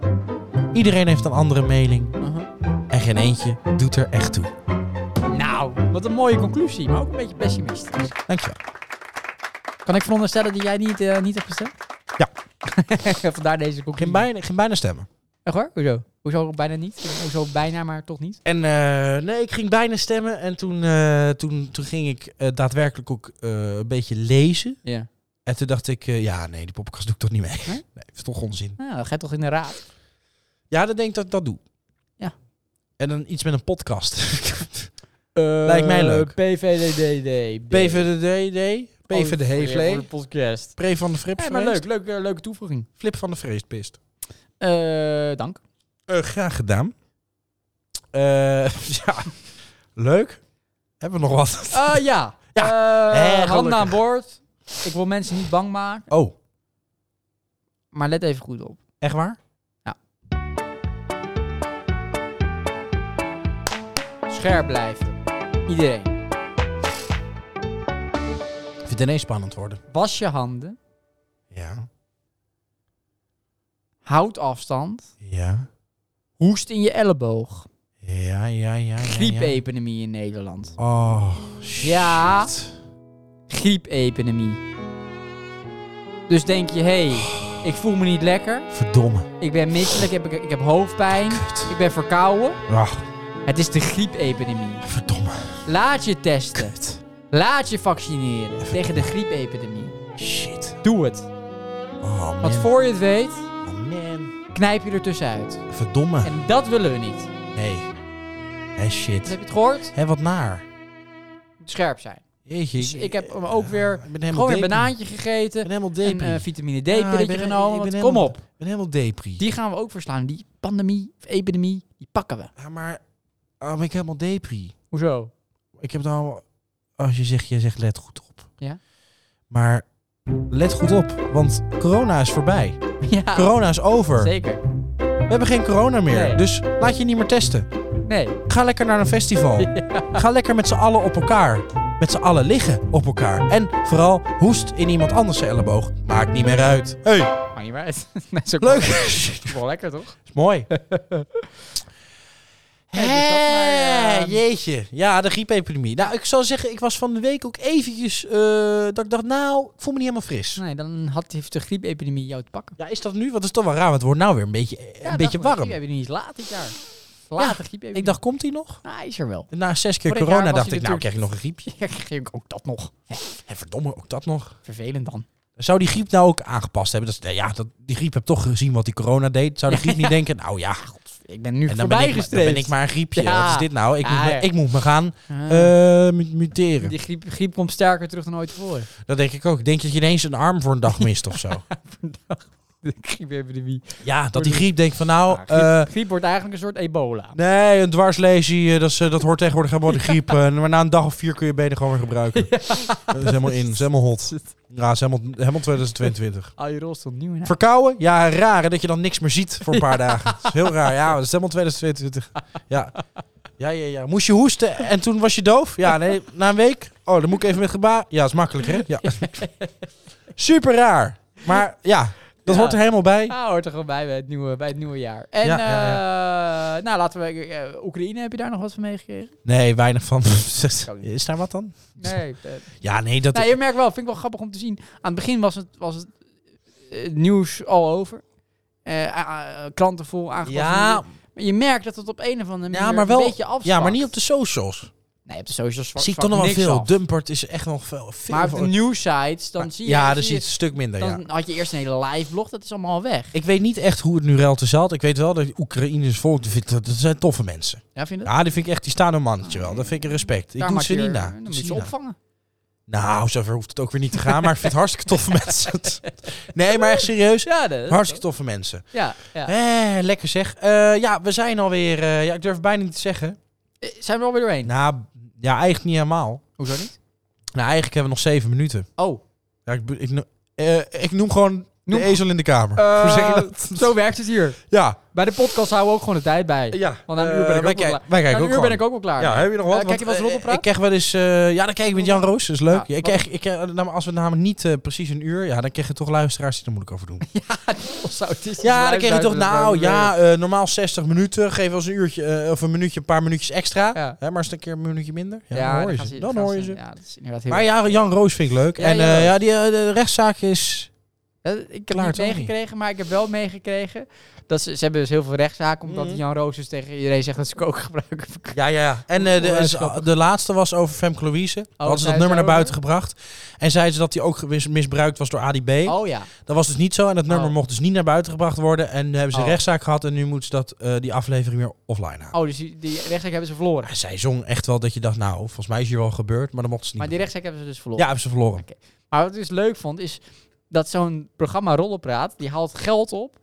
Speaker 1: Iedereen heeft een andere mening
Speaker 2: Uh-huh.
Speaker 1: en geen eentje doet er echt toe.
Speaker 2: Nou, wat een mooie conclusie, maar ook een beetje pessimistisch.
Speaker 1: Dankjewel.
Speaker 2: Kan ik veronderstellen dat jij niet, eh, niet hebt gestemd?
Speaker 1: Ja.
Speaker 2: Vandaar deze
Speaker 1: Ik ging
Speaker 2: conclusie.
Speaker 1: bijna, ik ging bijna stemmen.
Speaker 2: Echt hoor? Hoezo? Hoezo bijna niet? Hoezo bijna, maar toch niet?
Speaker 1: En eh, nee, ik ging bijna stemmen en toen, eh, toen, toen ging ik eh, daadwerkelijk ook eh, een beetje lezen.
Speaker 2: Ja.
Speaker 1: En toen dacht ik, eh, ja nee, die podcast doe ik toch niet mee.
Speaker 2: Nee?
Speaker 1: Nee, dat is toch onzin.
Speaker 2: Nou, dat gaat toch in de raad.
Speaker 1: Ja, dan denk ik dat ik dat doe.
Speaker 2: Ja.
Speaker 1: En dan iets met een podcast. Eh, Lijkt mij leuk.
Speaker 2: PVDDD.
Speaker 1: PVDD,
Speaker 2: Voor Oh, de- voor
Speaker 1: PVDD,
Speaker 2: de podcast.
Speaker 1: Pre van de Frip
Speaker 2: Ja, maar leuk. leuk eh, leuke toevoeging.
Speaker 1: Flip van de Vreespist.
Speaker 2: Eh, dank.
Speaker 1: Eh graag gedaan. Eh, ja, leuk. Hebben we nog wat?
Speaker 2: Ah ja.
Speaker 1: Ja.
Speaker 2: Eh,
Speaker 1: Hé,
Speaker 2: handen
Speaker 1: gelukkig.
Speaker 2: aan boord. Ik wil mensen niet bang maken.
Speaker 1: Oh,
Speaker 2: Maar let even goed op.
Speaker 1: echt waar?
Speaker 2: Scherp blijven. Iedereen.
Speaker 1: Ik vind het ineens spannend worden.
Speaker 2: Was je handen.
Speaker 1: Ja.
Speaker 2: Houd afstand.
Speaker 1: Ja.
Speaker 2: Hoest in je elleboog.
Speaker 1: Ja, ja, ja. ja,
Speaker 2: Griepepidemie in Nederland.
Speaker 1: ja. Oh, shit.
Speaker 2: Ja. Griepepidemie. Dus denk je, hé, hey, ik voel me niet lekker.
Speaker 1: Verdomme.
Speaker 2: Ik ben misselijk, ik heb, ik heb hoofdpijn.
Speaker 1: Kut.
Speaker 2: Ik ben verkouden.
Speaker 1: Ach,
Speaker 2: Het is de griepepidemie.
Speaker 1: verdomme.
Speaker 2: Laat je testen.
Speaker 1: Kut.
Speaker 2: Laat je vaccineren tegen de griepepidemie.
Speaker 1: Shit.
Speaker 2: Doe het.
Speaker 1: Oh, man.
Speaker 2: Want voor je het weet,
Speaker 1: Oh, man.
Speaker 2: knijp je er tussenuit.
Speaker 1: Verdomme.
Speaker 2: En dat willen we niet.
Speaker 1: Nee. Hé, shit.
Speaker 2: heb je het gehoord?
Speaker 1: Hé, wat naar.
Speaker 2: Scherp zijn.
Speaker 1: Jeetje.
Speaker 2: Dus ik heb hem ook weer
Speaker 1: ik ben helemaal
Speaker 2: gewoon weer een
Speaker 1: depri.
Speaker 2: banaantje
Speaker 1: Ik
Speaker 2: gegeten.
Speaker 1: ben helemaal
Speaker 2: Een
Speaker 1: depri.
Speaker 2: eh, vitamine
Speaker 1: Ah, ik ben-
Speaker 2: D-pilletje
Speaker 1: ik ben
Speaker 2: genomen. want
Speaker 1: helemaal-
Speaker 2: kom op.
Speaker 1: Ik ben helemaal depri.
Speaker 2: Die gaan we ook verslaan. Die pandemie, of epidemie, die pakken we.
Speaker 1: Ja, maar ah, ben ik helemaal depri.
Speaker 2: Hoezo?
Speaker 1: Ik heb nou... Als je zegt, je zegt let goed op.
Speaker 2: Ja.
Speaker 1: Maar let goed op, want corona is voorbij.
Speaker 2: Ja,
Speaker 1: Corona is over.
Speaker 2: Ah. zeker.
Speaker 1: We hebben geen corona meer.
Speaker 2: Nee.
Speaker 1: Dus laat je niet meer testen.
Speaker 2: Nee.
Speaker 1: Ga lekker naar een festival. Ga lekker met z'n allen op elkaar. Met z'n allen liggen op elkaar. En vooral hoest in iemand anders zijn elleboog. Maakt niet meer uit. Hey,
Speaker 2: Maakt niet meer uit. Dat is ook
Speaker 1: leuk.
Speaker 2: wel-
Speaker 1: is
Speaker 2: Wel lekker, toch?
Speaker 1: mooi.
Speaker 2: dus
Speaker 1: Hé,
Speaker 2: maar, eh,
Speaker 1: jeetje. Ja, de griepepidemie. Nou, ik zou zeggen, ik was van de week ook eventjes... eh, dat ik dacht, nou, ik voel me niet helemaal fris.
Speaker 2: Nee, dan had, heeft de griepepidemie jou te pakken.
Speaker 1: Ja, is dat nu? Want het is toch wel raar, want het wordt nou weer een beetje, een beetje warm.
Speaker 2: De niet is laat dit jaar. Late griepepidemie.
Speaker 1: Ik dacht, komt die nog?
Speaker 2: nou, hij is er wel.
Speaker 1: Na zes keer
Speaker 2: Vorig jaar
Speaker 1: corona
Speaker 2: was
Speaker 1: dacht
Speaker 2: hij
Speaker 1: ik, nou
Speaker 2: natuurlijk-
Speaker 1: krijg ik nog een griepje.
Speaker 2: Ja, kreeg ik ook dat nog.
Speaker 1: En verdomme, ook dat nog.
Speaker 2: Vervelend dan.
Speaker 1: Zou die griep nou ook aangepast hebben? Dat, is- ja, dat, die griep heb toch gezien wat die corona deed. Zou de griep niet denken, nou ja,
Speaker 2: Ik ben nu
Speaker 1: en dan ben,
Speaker 2: voorbij
Speaker 1: ik, maar- dan ben ik
Speaker 2: gestreefd.
Speaker 1: maar een griepje.
Speaker 2: Ja.
Speaker 1: Wat is dit nou? Ik,
Speaker 2: Ja,
Speaker 1: moet, me,
Speaker 2: ja.
Speaker 1: ik moet me gaan
Speaker 2: Ah,
Speaker 1: eh, mu- muteren.
Speaker 2: die griep, griep komt sterker terug dan ooit tevoren.
Speaker 1: Dat denk ik ook. Denk je dat je ineens een arm voor een dag mist of zo?
Speaker 2: De griepepidemie.
Speaker 1: Ja, dat die griep denkt van nou...
Speaker 2: griep,
Speaker 1: eh,
Speaker 2: griep wordt eigenlijk een soort ebola.
Speaker 1: Nee, een dwarslesie, eh, dat, is, eh, dat hoort tegenwoordig helemaal de griep. eh, maar na een dag of vier kun je benen gewoon weer gebruiken. dat is helemaal in, dat is helemaal hot. Ja, dat is helemaal, helemaal 2022.
Speaker 2: Al je rol stond nieuw in.
Speaker 1: Verkouden? Ja, raar hè, dat je dan niks meer ziet voor een paar dagen. Dat is heel raar. Ja, dat is helemaal 2022. Ja. Ja, ja, ja. Moest je hoesten en toen was je doof? Ja, nee. Na een week? Oh, dan moet ik even met gebaar. Ja, is makkelijk, hè? Ja. Super raar. Maar ja, dat
Speaker 2: Ja.
Speaker 1: hoort er helemaal bij.
Speaker 2: Ah, hoort er gewoon bij bij het nieuwe, bij het nieuwe jaar. En
Speaker 1: Ja, ja,
Speaker 2: eh, nou, laten we... eh, Oekraïne, heb je daar nog wat van meegekregen?
Speaker 1: Nee, weinig van. Is daar wat dan?
Speaker 2: Nee. eh,
Speaker 1: Ja, nee, dat...
Speaker 2: nou, je merkt wel, vind ik wel grappig om te zien. Aan het begin was het, was het eh, nieuws al over. Eh, ah, ah, kranten vol aangepast.
Speaker 1: Ja,
Speaker 2: Maar je merkt dat het op een of andere manier
Speaker 1: ja, maar wel...
Speaker 2: een beetje afzwakt.
Speaker 1: ja, maar niet op de socials.
Speaker 2: Nee, op de socials zwak-
Speaker 1: Zie ik
Speaker 2: zwakt
Speaker 1: toch nog wel
Speaker 2: niks
Speaker 1: veel.
Speaker 2: af.
Speaker 1: Dumpert is echt nog veel... veel
Speaker 2: Maar op de nieuwsites, dan zie je...
Speaker 1: ja,
Speaker 2: zie
Speaker 1: daar
Speaker 2: je-
Speaker 1: zit het een stuk minder, ja.
Speaker 2: Dan had je eerst een hele live blog, dat is allemaal al weg.
Speaker 1: Ik weet niet echt hoe het nu reelt tussen zat. Ik weet wel dat Oekraïners volk, dat, vind ik- dat zijn toffe mensen.
Speaker 2: Ja, vind je dat?
Speaker 1: Ja, die vind ik echt, die staan een mannetje wel. Dat vind ik respect. Ik
Speaker 2: Daar
Speaker 1: doe
Speaker 2: maak
Speaker 1: ze
Speaker 2: je-
Speaker 1: niet na.
Speaker 2: Dan
Speaker 1: Doe
Speaker 2: moet
Speaker 1: ze
Speaker 2: je ze
Speaker 1: niet na.
Speaker 2: opvangen.
Speaker 1: Nou, zover hoeft het ook weer niet te gaan. Maar ik vind het hartstikke toffe mensen. Nee, maar echt serieus.
Speaker 2: Ja, dat- dat-
Speaker 1: Hartstikke toffe mensen.
Speaker 2: Ja, ja.
Speaker 1: Eh, lekker zeg. Eh, ja, we zijn alweer... eh ja, ik durf het bijna niet te zeggen.
Speaker 2: Eh, Zijn we alweer doorheen?
Speaker 1: Nou, ja, eigenlijk niet helemaal.
Speaker 2: Hoezo niet?
Speaker 1: Nou, eigenlijk hebben we nog zeven minuten.
Speaker 2: Oh,
Speaker 1: Ja, ik, ik, no- eh, ik noem gewoon
Speaker 2: Noem-
Speaker 1: de ezel in de kamer.
Speaker 2: Eh,
Speaker 1: Hoe zeg je dat?
Speaker 2: zo werkt het hier.
Speaker 1: Ja.
Speaker 2: Bij de podcast houden we ook gewoon de tijd bij.
Speaker 1: ja.
Speaker 2: Want na een uur ben ik ook
Speaker 1: wij
Speaker 2: wel
Speaker 1: kijk-
Speaker 2: klaar.
Speaker 1: wij kijken
Speaker 2: Na
Speaker 1: ook
Speaker 2: een uur ben
Speaker 1: gewoon.
Speaker 2: ik ook wel klaar.
Speaker 1: Ja, heb je nog wat?
Speaker 2: Eh, kijk je
Speaker 1: Want,
Speaker 2: wel eens
Speaker 1: eh,
Speaker 2: roddelpraat?
Speaker 1: Ik krijg wel eens... eh, ja, dan kijk ik met Jan Roos. Dat is leuk.
Speaker 2: Ja,
Speaker 1: ik krijg, ik krijg, nou, maar als we namelijk niet eh, precies een uur... Ja, dan krijg je toch luisteraars die er moeilijk over doen.
Speaker 2: Of zou het is-
Speaker 1: ja, dan krijg je toch...
Speaker 2: dat zou
Speaker 1: Nou,
Speaker 2: ik willen.
Speaker 1: ja, eh, normaal 60 minuten. Geef ons een uurtje eh, of een minuutje, een paar minuutjes extra.
Speaker 2: Ja.
Speaker 1: Hè, maar eens een keer een minuutje minder. Ja,
Speaker 2: Ja,
Speaker 1: dan hoor je
Speaker 2: gaan
Speaker 1: ze.
Speaker 2: gaan
Speaker 1: Dan hoor je ze.
Speaker 2: Ja, dat is inderdaad heel
Speaker 1: Maar ja, Jan Roos vind ik leuk.
Speaker 2: Ja,
Speaker 1: en
Speaker 2: Jan
Speaker 1: eh,
Speaker 2: Roos.
Speaker 1: ja, die, eh, de rechtszaak is...
Speaker 2: Eh, Ik heb
Speaker 1: Klaar,
Speaker 2: niet
Speaker 1: toch niet?
Speaker 2: meegekregen, maar ik heb wel meegekregen dat ze, ze hebben dus heel veel rechtszaken omdat
Speaker 1: Mhm.
Speaker 2: Jan Roos dus tegen iedereen zegt dat ze koken gebruiken.
Speaker 1: Ja, ja, ja. En eh,
Speaker 2: Oh, dat is
Speaker 1: de,
Speaker 2: grappig.
Speaker 1: de laatste was over Femke Louise. Hadden ze
Speaker 2: zei
Speaker 1: dat
Speaker 2: ze
Speaker 1: nummer naar
Speaker 2: over?
Speaker 1: buiten gebracht. En zeiden ze dat die ook mis- misbruikt was door ADB.
Speaker 2: Oh ja.
Speaker 1: Dat was dus niet zo. En dat nummer
Speaker 2: Oh.
Speaker 1: mocht dus niet naar buiten gebracht worden. En nu hebben ze een
Speaker 2: Oh.
Speaker 1: rechtszaak gehad. En nu moeten ze dat, eh, die aflevering weer offline halen.
Speaker 2: Oh, dus die, die rechtszaak hebben ze verloren.
Speaker 1: Maar Zij zong echt wel dat je dacht, nou, volgens mij is hier wel gebeurd. Maar dat mochten ze niet.
Speaker 2: Maar die rechtszaak hebben ze dus
Speaker 1: doen.
Speaker 2: verloren.
Speaker 1: ja, hebben ze verloren.
Speaker 2: Maar wat ik dus leuk vond, is dat zo'n programma Rollenpraat, die haalt geld op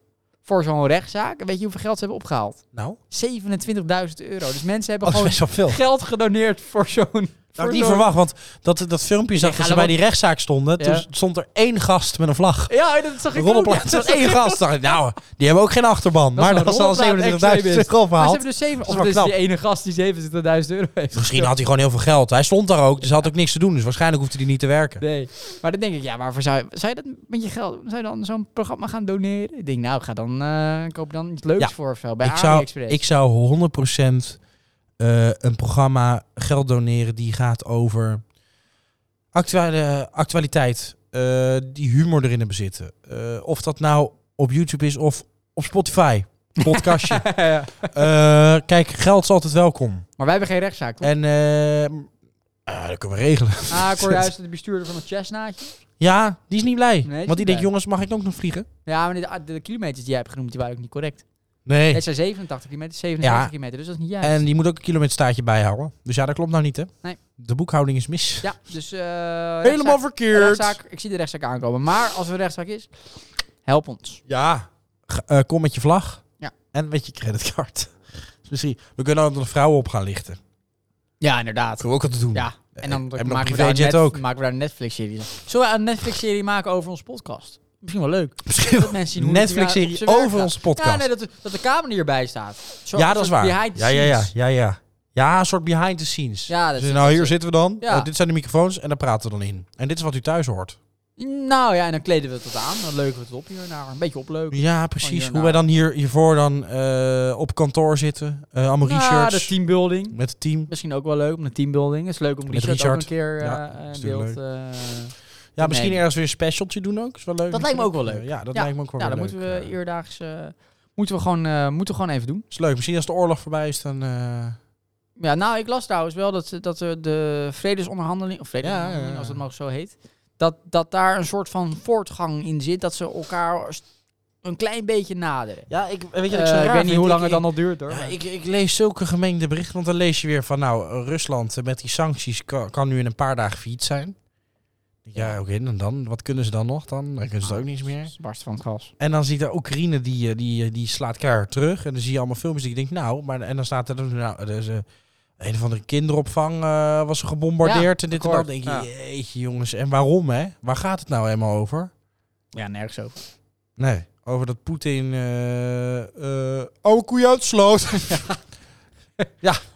Speaker 2: voor zo'n rechtszaak. En weet je hoeveel geld ze hebben opgehaald?
Speaker 1: Nou,
Speaker 2: 27.000 euro. Dus mensen hebben
Speaker 1: oh,
Speaker 2: gewoon
Speaker 1: dat is best wel veel. Dat
Speaker 2: geld gedoneerd voor zo'n...
Speaker 1: had
Speaker 2: voor
Speaker 1: ik niet
Speaker 2: zo'n-
Speaker 1: verwacht, want dat, dat filmpje zag
Speaker 2: ga
Speaker 1: dat ze
Speaker 2: dan
Speaker 1: bij
Speaker 2: wel-
Speaker 1: die rechtszaak stonden.
Speaker 2: Ja.
Speaker 1: Toen stond er één gast met een vlag.
Speaker 2: Ja, dat zag ik ook.
Speaker 1: Rollenplaat.
Speaker 2: Ja, dat
Speaker 1: Er was
Speaker 2: zag ik
Speaker 1: één
Speaker 2: ook.
Speaker 1: gast. Dacht ik, Nou, die hebben ook geen achterban.
Speaker 2: Dat is
Speaker 1: maar
Speaker 2: een
Speaker 1: dat was al 27.000
Speaker 2: rollenplaat extra winst. Maar
Speaker 1: euro
Speaker 2: ze
Speaker 1: opgehaald.
Speaker 2: hebben dus 7... Of
Speaker 1: wel
Speaker 2: dus
Speaker 1: knap.
Speaker 2: die ene gast die 27.000 euro heeft.
Speaker 1: Misschien had hij gewoon heel veel geld. Hij stond daar ook, dus hij had ook niks te doen. Dus waarschijnlijk hoefde hij niet te werken.
Speaker 2: Nee. Maar dan denk ik, ja, waarvoor zou je, zou je dat met je geld, zou je dan zo'n programma gaan doneren? Ik denk, nou, ga dan, eh, koop dan iets leuks
Speaker 1: Ja.
Speaker 2: voor of zo, bij
Speaker 1: ik, zou,
Speaker 2: AliExpress.
Speaker 1: ik zou 100% eh, een programma geld doneren die gaat over actuele, actualiteit, eh, die humor erin hebben zitten. Eh, of dat nou op YouTube is of op Spotify. Podcastje. Eh, kijk, geld is altijd welkom.
Speaker 2: Maar wij hebben geen rechtszaak, toch?
Speaker 1: En eh, ah, dat kunnen we regelen.
Speaker 2: Ah, ik hoor juist de bestuurder van het chestnaatje.
Speaker 1: Ja, die is niet blij.
Speaker 2: is niet
Speaker 1: want die
Speaker 2: blij.
Speaker 1: denkt, jongens, mag ik ook nog vliegen?
Speaker 2: Ja, maar de, de kilometers die jij hebt genoemd, die waren ook niet correct.
Speaker 1: Nee.
Speaker 2: Het zijn 87 kilometer, 67
Speaker 1: Ja.
Speaker 2: kilometer, dus dat is niet juist.
Speaker 1: En je moet ook een kilometerstaartje bijhouden. Dus ja, dat klopt nou niet, hè?
Speaker 2: Nee.
Speaker 1: De boekhouding is mis.
Speaker 2: Ja, dus eh,
Speaker 1: Helemaal
Speaker 2: rechtszaak-
Speaker 1: verkeerd.
Speaker 2: rechtszaak- ik zie de rechtszaak aankomen. Maar als er een rechtszaak is, help ons.
Speaker 1: Ja. G- eh, kom met je vlag.
Speaker 2: Ja.
Speaker 1: En met je creditcard. Dus misschien, we kunnen ook nog vrouwen op gaan lichten. Dat
Speaker 2: Ja, inderdaad.
Speaker 1: kunnen we ook altijd doen.
Speaker 2: Ja, en dan
Speaker 1: Hebben we
Speaker 2: maken,
Speaker 1: nog
Speaker 2: we daar een
Speaker 1: privéjet
Speaker 2: net-
Speaker 1: ook?
Speaker 2: maken we daar een Netflix-serie van. Zullen we een Netflix-serie maken over ons podcast? Misschien wel leuk.
Speaker 1: Misschien
Speaker 2: Dat mensen zien hoe het op
Speaker 1: Netflix-serie
Speaker 2: zijn werk
Speaker 1: over
Speaker 2: gaat.
Speaker 1: onze podcast.
Speaker 2: Ja, nee, dat, de- dat de camera hierbij staat. Zo-
Speaker 1: Ja,
Speaker 2: een
Speaker 1: dat is
Speaker 2: soort
Speaker 1: waar.
Speaker 2: behind the
Speaker 1: ja, ja, ja,
Speaker 2: scenes.
Speaker 1: ja, ja. Ja, een soort behind the scenes.
Speaker 2: Ja, dat
Speaker 1: Dus
Speaker 2: is-
Speaker 1: nou, hier zitten we dan.
Speaker 2: Ja.
Speaker 1: Oh, dit zijn de microfoons en daar praten we dan in. En dit is wat u thuis hoort.
Speaker 2: Nou ja, en dan kleden we het tot aan. Dan leuken we het op hiernaar. Een beetje opleuken.
Speaker 1: Ja, precies. Hoe
Speaker 2: hierna.
Speaker 1: wij dan hier, hiervoor dan eh, op kantoor zitten. eh allemaal
Speaker 2: Ja, Nou, de
Speaker 1: research
Speaker 2: teambuilding.
Speaker 1: met het team.
Speaker 2: Misschien ook wel leuk om de teambuilding. Het is leuk om
Speaker 1: Met
Speaker 2: Richard, ook een
Speaker 1: Richard.
Speaker 2: keer eh,
Speaker 1: Ja,
Speaker 2: eh,
Speaker 1: is
Speaker 2: in
Speaker 1: natuurlijk
Speaker 2: beeld... eh,
Speaker 1: Ja, misschien
Speaker 2: Nee.
Speaker 1: ergens weer een specialtje doen ook. Is wel leuk.
Speaker 2: Dat lijkt me ook wel
Speaker 1: natuurlijk.
Speaker 2: leuk.
Speaker 1: Ja, dat
Speaker 2: Ja.
Speaker 1: lijkt me ook wel
Speaker 2: ja,
Speaker 1: weer
Speaker 2: dan moeten
Speaker 1: leuk.
Speaker 2: we eerdaags... eh, moeten, we gewoon, eh, moeten we gewoon even doen.
Speaker 1: Is leuk. Misschien als de oorlog voorbij is, dan... eh,
Speaker 2: Ja, nou, ik las trouwens wel dat, dat eh, de vredesonderhandeling, of vredesonderhandeling,
Speaker 1: Ja, ja, ja.
Speaker 2: als het mag zo heet, dat, dat daar een soort van voortgang in zit, dat ze elkaar st- een klein beetje naderen.
Speaker 1: Ja, ik weet je,
Speaker 2: Eh, ik weet niet hoe lang het dan al duurt hoor.
Speaker 1: Ja,
Speaker 2: maar-
Speaker 1: ik, ik lees zulke gemengde berichten, want dan lees je weer van, nou, eh, Rusland eh, met die sancties ka- kan, nu in een paar dagen failliet zijn. Ja, oké, en dan? Wat kunnen ze dan nog dan? Dan kunnen ze het ook niets meer.
Speaker 2: Barst van het gas.
Speaker 1: En dan ziet de Oekraïne, die, eh, die, eh, die slaat keihard terug. En dan zie je allemaal filmpjes die ik denk, nou, maar en dan staat er dan, nou, er is, eh, een van de kinderopvang eh, was gebombardeerd en dit en dat.
Speaker 2: akkoord,
Speaker 1: Dan denk je,
Speaker 2: ja.
Speaker 1: jeetje jongens, en waarom hè? Waar gaat het nou helemaal over?
Speaker 2: Ja, nergens over.
Speaker 1: Nee, over dat Poetin eh eh oude koeien uitsloot.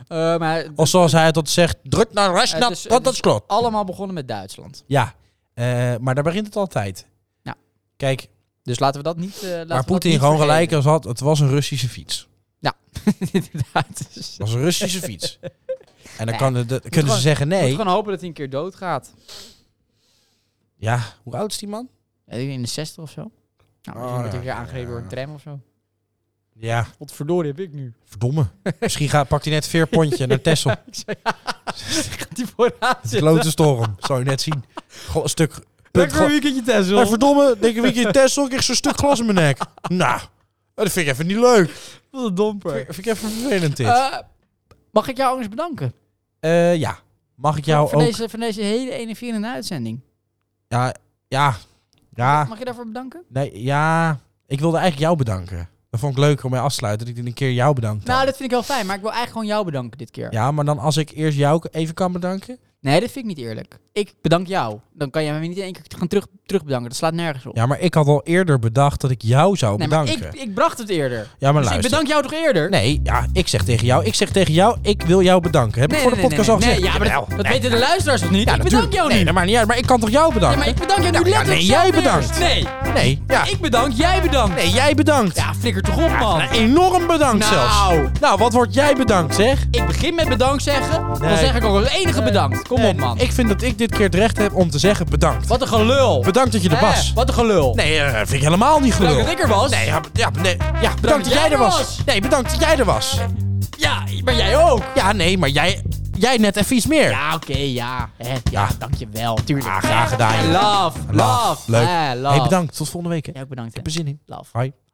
Speaker 2: Eh, maar
Speaker 1: Of zoals hij dat zegt, druk naar rechts,
Speaker 2: Het
Speaker 1: naar-
Speaker 2: is-
Speaker 1: dat
Speaker 2: het
Speaker 1: dat
Speaker 2: is-
Speaker 1: is klopt.
Speaker 2: allemaal begonnen met Duitsland.
Speaker 1: Ja, eh, maar daar begint het altijd.
Speaker 2: Ja.
Speaker 1: Kijk,
Speaker 2: Dus laten we dat niet. eh, laten we
Speaker 1: waar
Speaker 2: dat
Speaker 1: Poetin
Speaker 2: niet
Speaker 1: gewoon gelijk
Speaker 2: vergeten.
Speaker 1: als had, het was een Russische fiets.
Speaker 2: Inderdaad. Dus,
Speaker 1: Het was een Russische fiets. En dan
Speaker 2: Nee.
Speaker 1: kan de- de- kunnen ze
Speaker 2: gewoon-
Speaker 1: zeggen
Speaker 2: We
Speaker 1: nee.
Speaker 2: moeten gewoon hopen dat hij een keer doodgaat.
Speaker 1: Ja, hoe oud is die man?
Speaker 2: Eh, In de 60 of zo. Nou,
Speaker 1: Oh,
Speaker 2: misschien wordt hij
Speaker 1: ja.
Speaker 2: een keer aangegrepen door een tram of zo.
Speaker 1: Ja,
Speaker 2: Wat verdorie heb ik nu?
Speaker 1: verdomme. Misschien gaat, pakt hij net veerpontje naar Tessel.
Speaker 2: Ik zei, ja. Gaat hij vooraan zitten?
Speaker 1: Klote storm, zou je net zien. Goh, een stuk... Punt,
Speaker 2: Lekker
Speaker 1: gla-
Speaker 2: een weekendje Tesla.
Speaker 1: hey, verdomme, denk ik weekje in Tessel, ik zo'n stuk glas in mijn nek. Nou, dat vind ik even niet leuk.
Speaker 2: Wat een domper.
Speaker 1: Vind ik even vervelend dit.
Speaker 2: Eh, mag ik jou eens bedanken?
Speaker 1: Eh, ja, mag ik jou
Speaker 2: voor,
Speaker 1: ook...
Speaker 2: deze, voor deze hele enerverende uitzending.
Speaker 1: Ja, ja, ja.
Speaker 2: Mag je daarvoor bedanken?
Speaker 1: Nee, ja. Ik wilde eigenlijk jou bedanken. Dat vond ik leuker om mee af te sluiten. Dat ik een keer jou bedankt had.
Speaker 2: Nou, dat vind ik wel fijn, maar ik wil eigenlijk gewoon jou bedanken dit keer.
Speaker 1: Ja, maar dan als ik eerst jou even kan bedanken.
Speaker 2: Nee, dat vind ik niet eerlijk. Ik bedank jou. Dan kan jij me niet in één keer gaan terug, terug bedanken. Dat slaat nergens op.
Speaker 1: Ja, maar ik had al eerder bedacht dat ik jou zou
Speaker 2: nee, maar
Speaker 1: bedanken.
Speaker 2: ik, ik bracht het eerder.
Speaker 1: ja,
Speaker 2: dus
Speaker 1: maar
Speaker 2: ik
Speaker 1: luister.
Speaker 2: bedank jou toch eerder?
Speaker 1: Nee, ja, ik zeg tegen jou. Ik zeg tegen jou, ik wil jou bedanken. Heb
Speaker 2: nee,
Speaker 1: ik voor
Speaker 2: nee,
Speaker 1: de
Speaker 2: nee,
Speaker 1: podcast
Speaker 2: nee,
Speaker 1: al gezegd?
Speaker 2: nee, ja, maar dat,
Speaker 1: Jawel.
Speaker 2: dat
Speaker 1: Nee.
Speaker 2: weten de luisteraars toch niet?
Speaker 1: Ja,
Speaker 2: ik
Speaker 1: natuurlijk.
Speaker 2: bedank jou
Speaker 1: Nee,
Speaker 2: niet.
Speaker 1: dat maakt niet uit. Maar ik kan toch jou
Speaker 2: Nee,
Speaker 1: bedanken?
Speaker 2: maar ik bedank jou nu
Speaker 1: Nou, ja,
Speaker 2: letterlijk
Speaker 1: nee, jij
Speaker 2: zelf eerst.
Speaker 1: bedankt.
Speaker 2: Nee,
Speaker 1: Nee, ja.
Speaker 2: ik bedank, jij bedankt.
Speaker 1: Nee, jij bedankt.
Speaker 2: Ja, flikker toch op, man.
Speaker 1: Nou, enorm bedankt
Speaker 2: Nou.
Speaker 1: zelfs. Nou, wat word jij bedankt, zeg?
Speaker 2: Ik begin met bedankt zeggen. Dan
Speaker 1: Nee.
Speaker 2: zeg ik ook als enige bedankt. Kom op,
Speaker 1: Nee,
Speaker 2: man.
Speaker 1: Ik vind dat ik dit keer het recht heb om te zeggen bedankt.
Speaker 2: Wat een gelul.
Speaker 1: Bedankt dat je er
Speaker 2: Hè?
Speaker 1: was.
Speaker 2: Wat een gelul.
Speaker 1: Nee, eh, vind ik helemaal niet
Speaker 2: Bedankt
Speaker 1: gelul.
Speaker 2: dat ik er was.
Speaker 1: Nee, ja, ja, nee, ja bedankt, dat jij er was. Nee, bedankt dat jij er was.
Speaker 2: Ja, maar jij ook.
Speaker 1: Ja, nee, maar jij, jij net even iets meer.
Speaker 2: Ja, oké, ja. Hè, ja.
Speaker 1: Ja.
Speaker 2: dankjewel. Tuurlijk.
Speaker 1: Ah, graag gedaan. joh.
Speaker 2: Love, love.
Speaker 1: Leuk.
Speaker 2: Hè, love.
Speaker 1: Hey, bedankt. Tot volgende week. Hè. Ik
Speaker 2: Jij ook bedankt, hè.
Speaker 1: heb er zin in.
Speaker 2: Love.
Speaker 1: Hoi.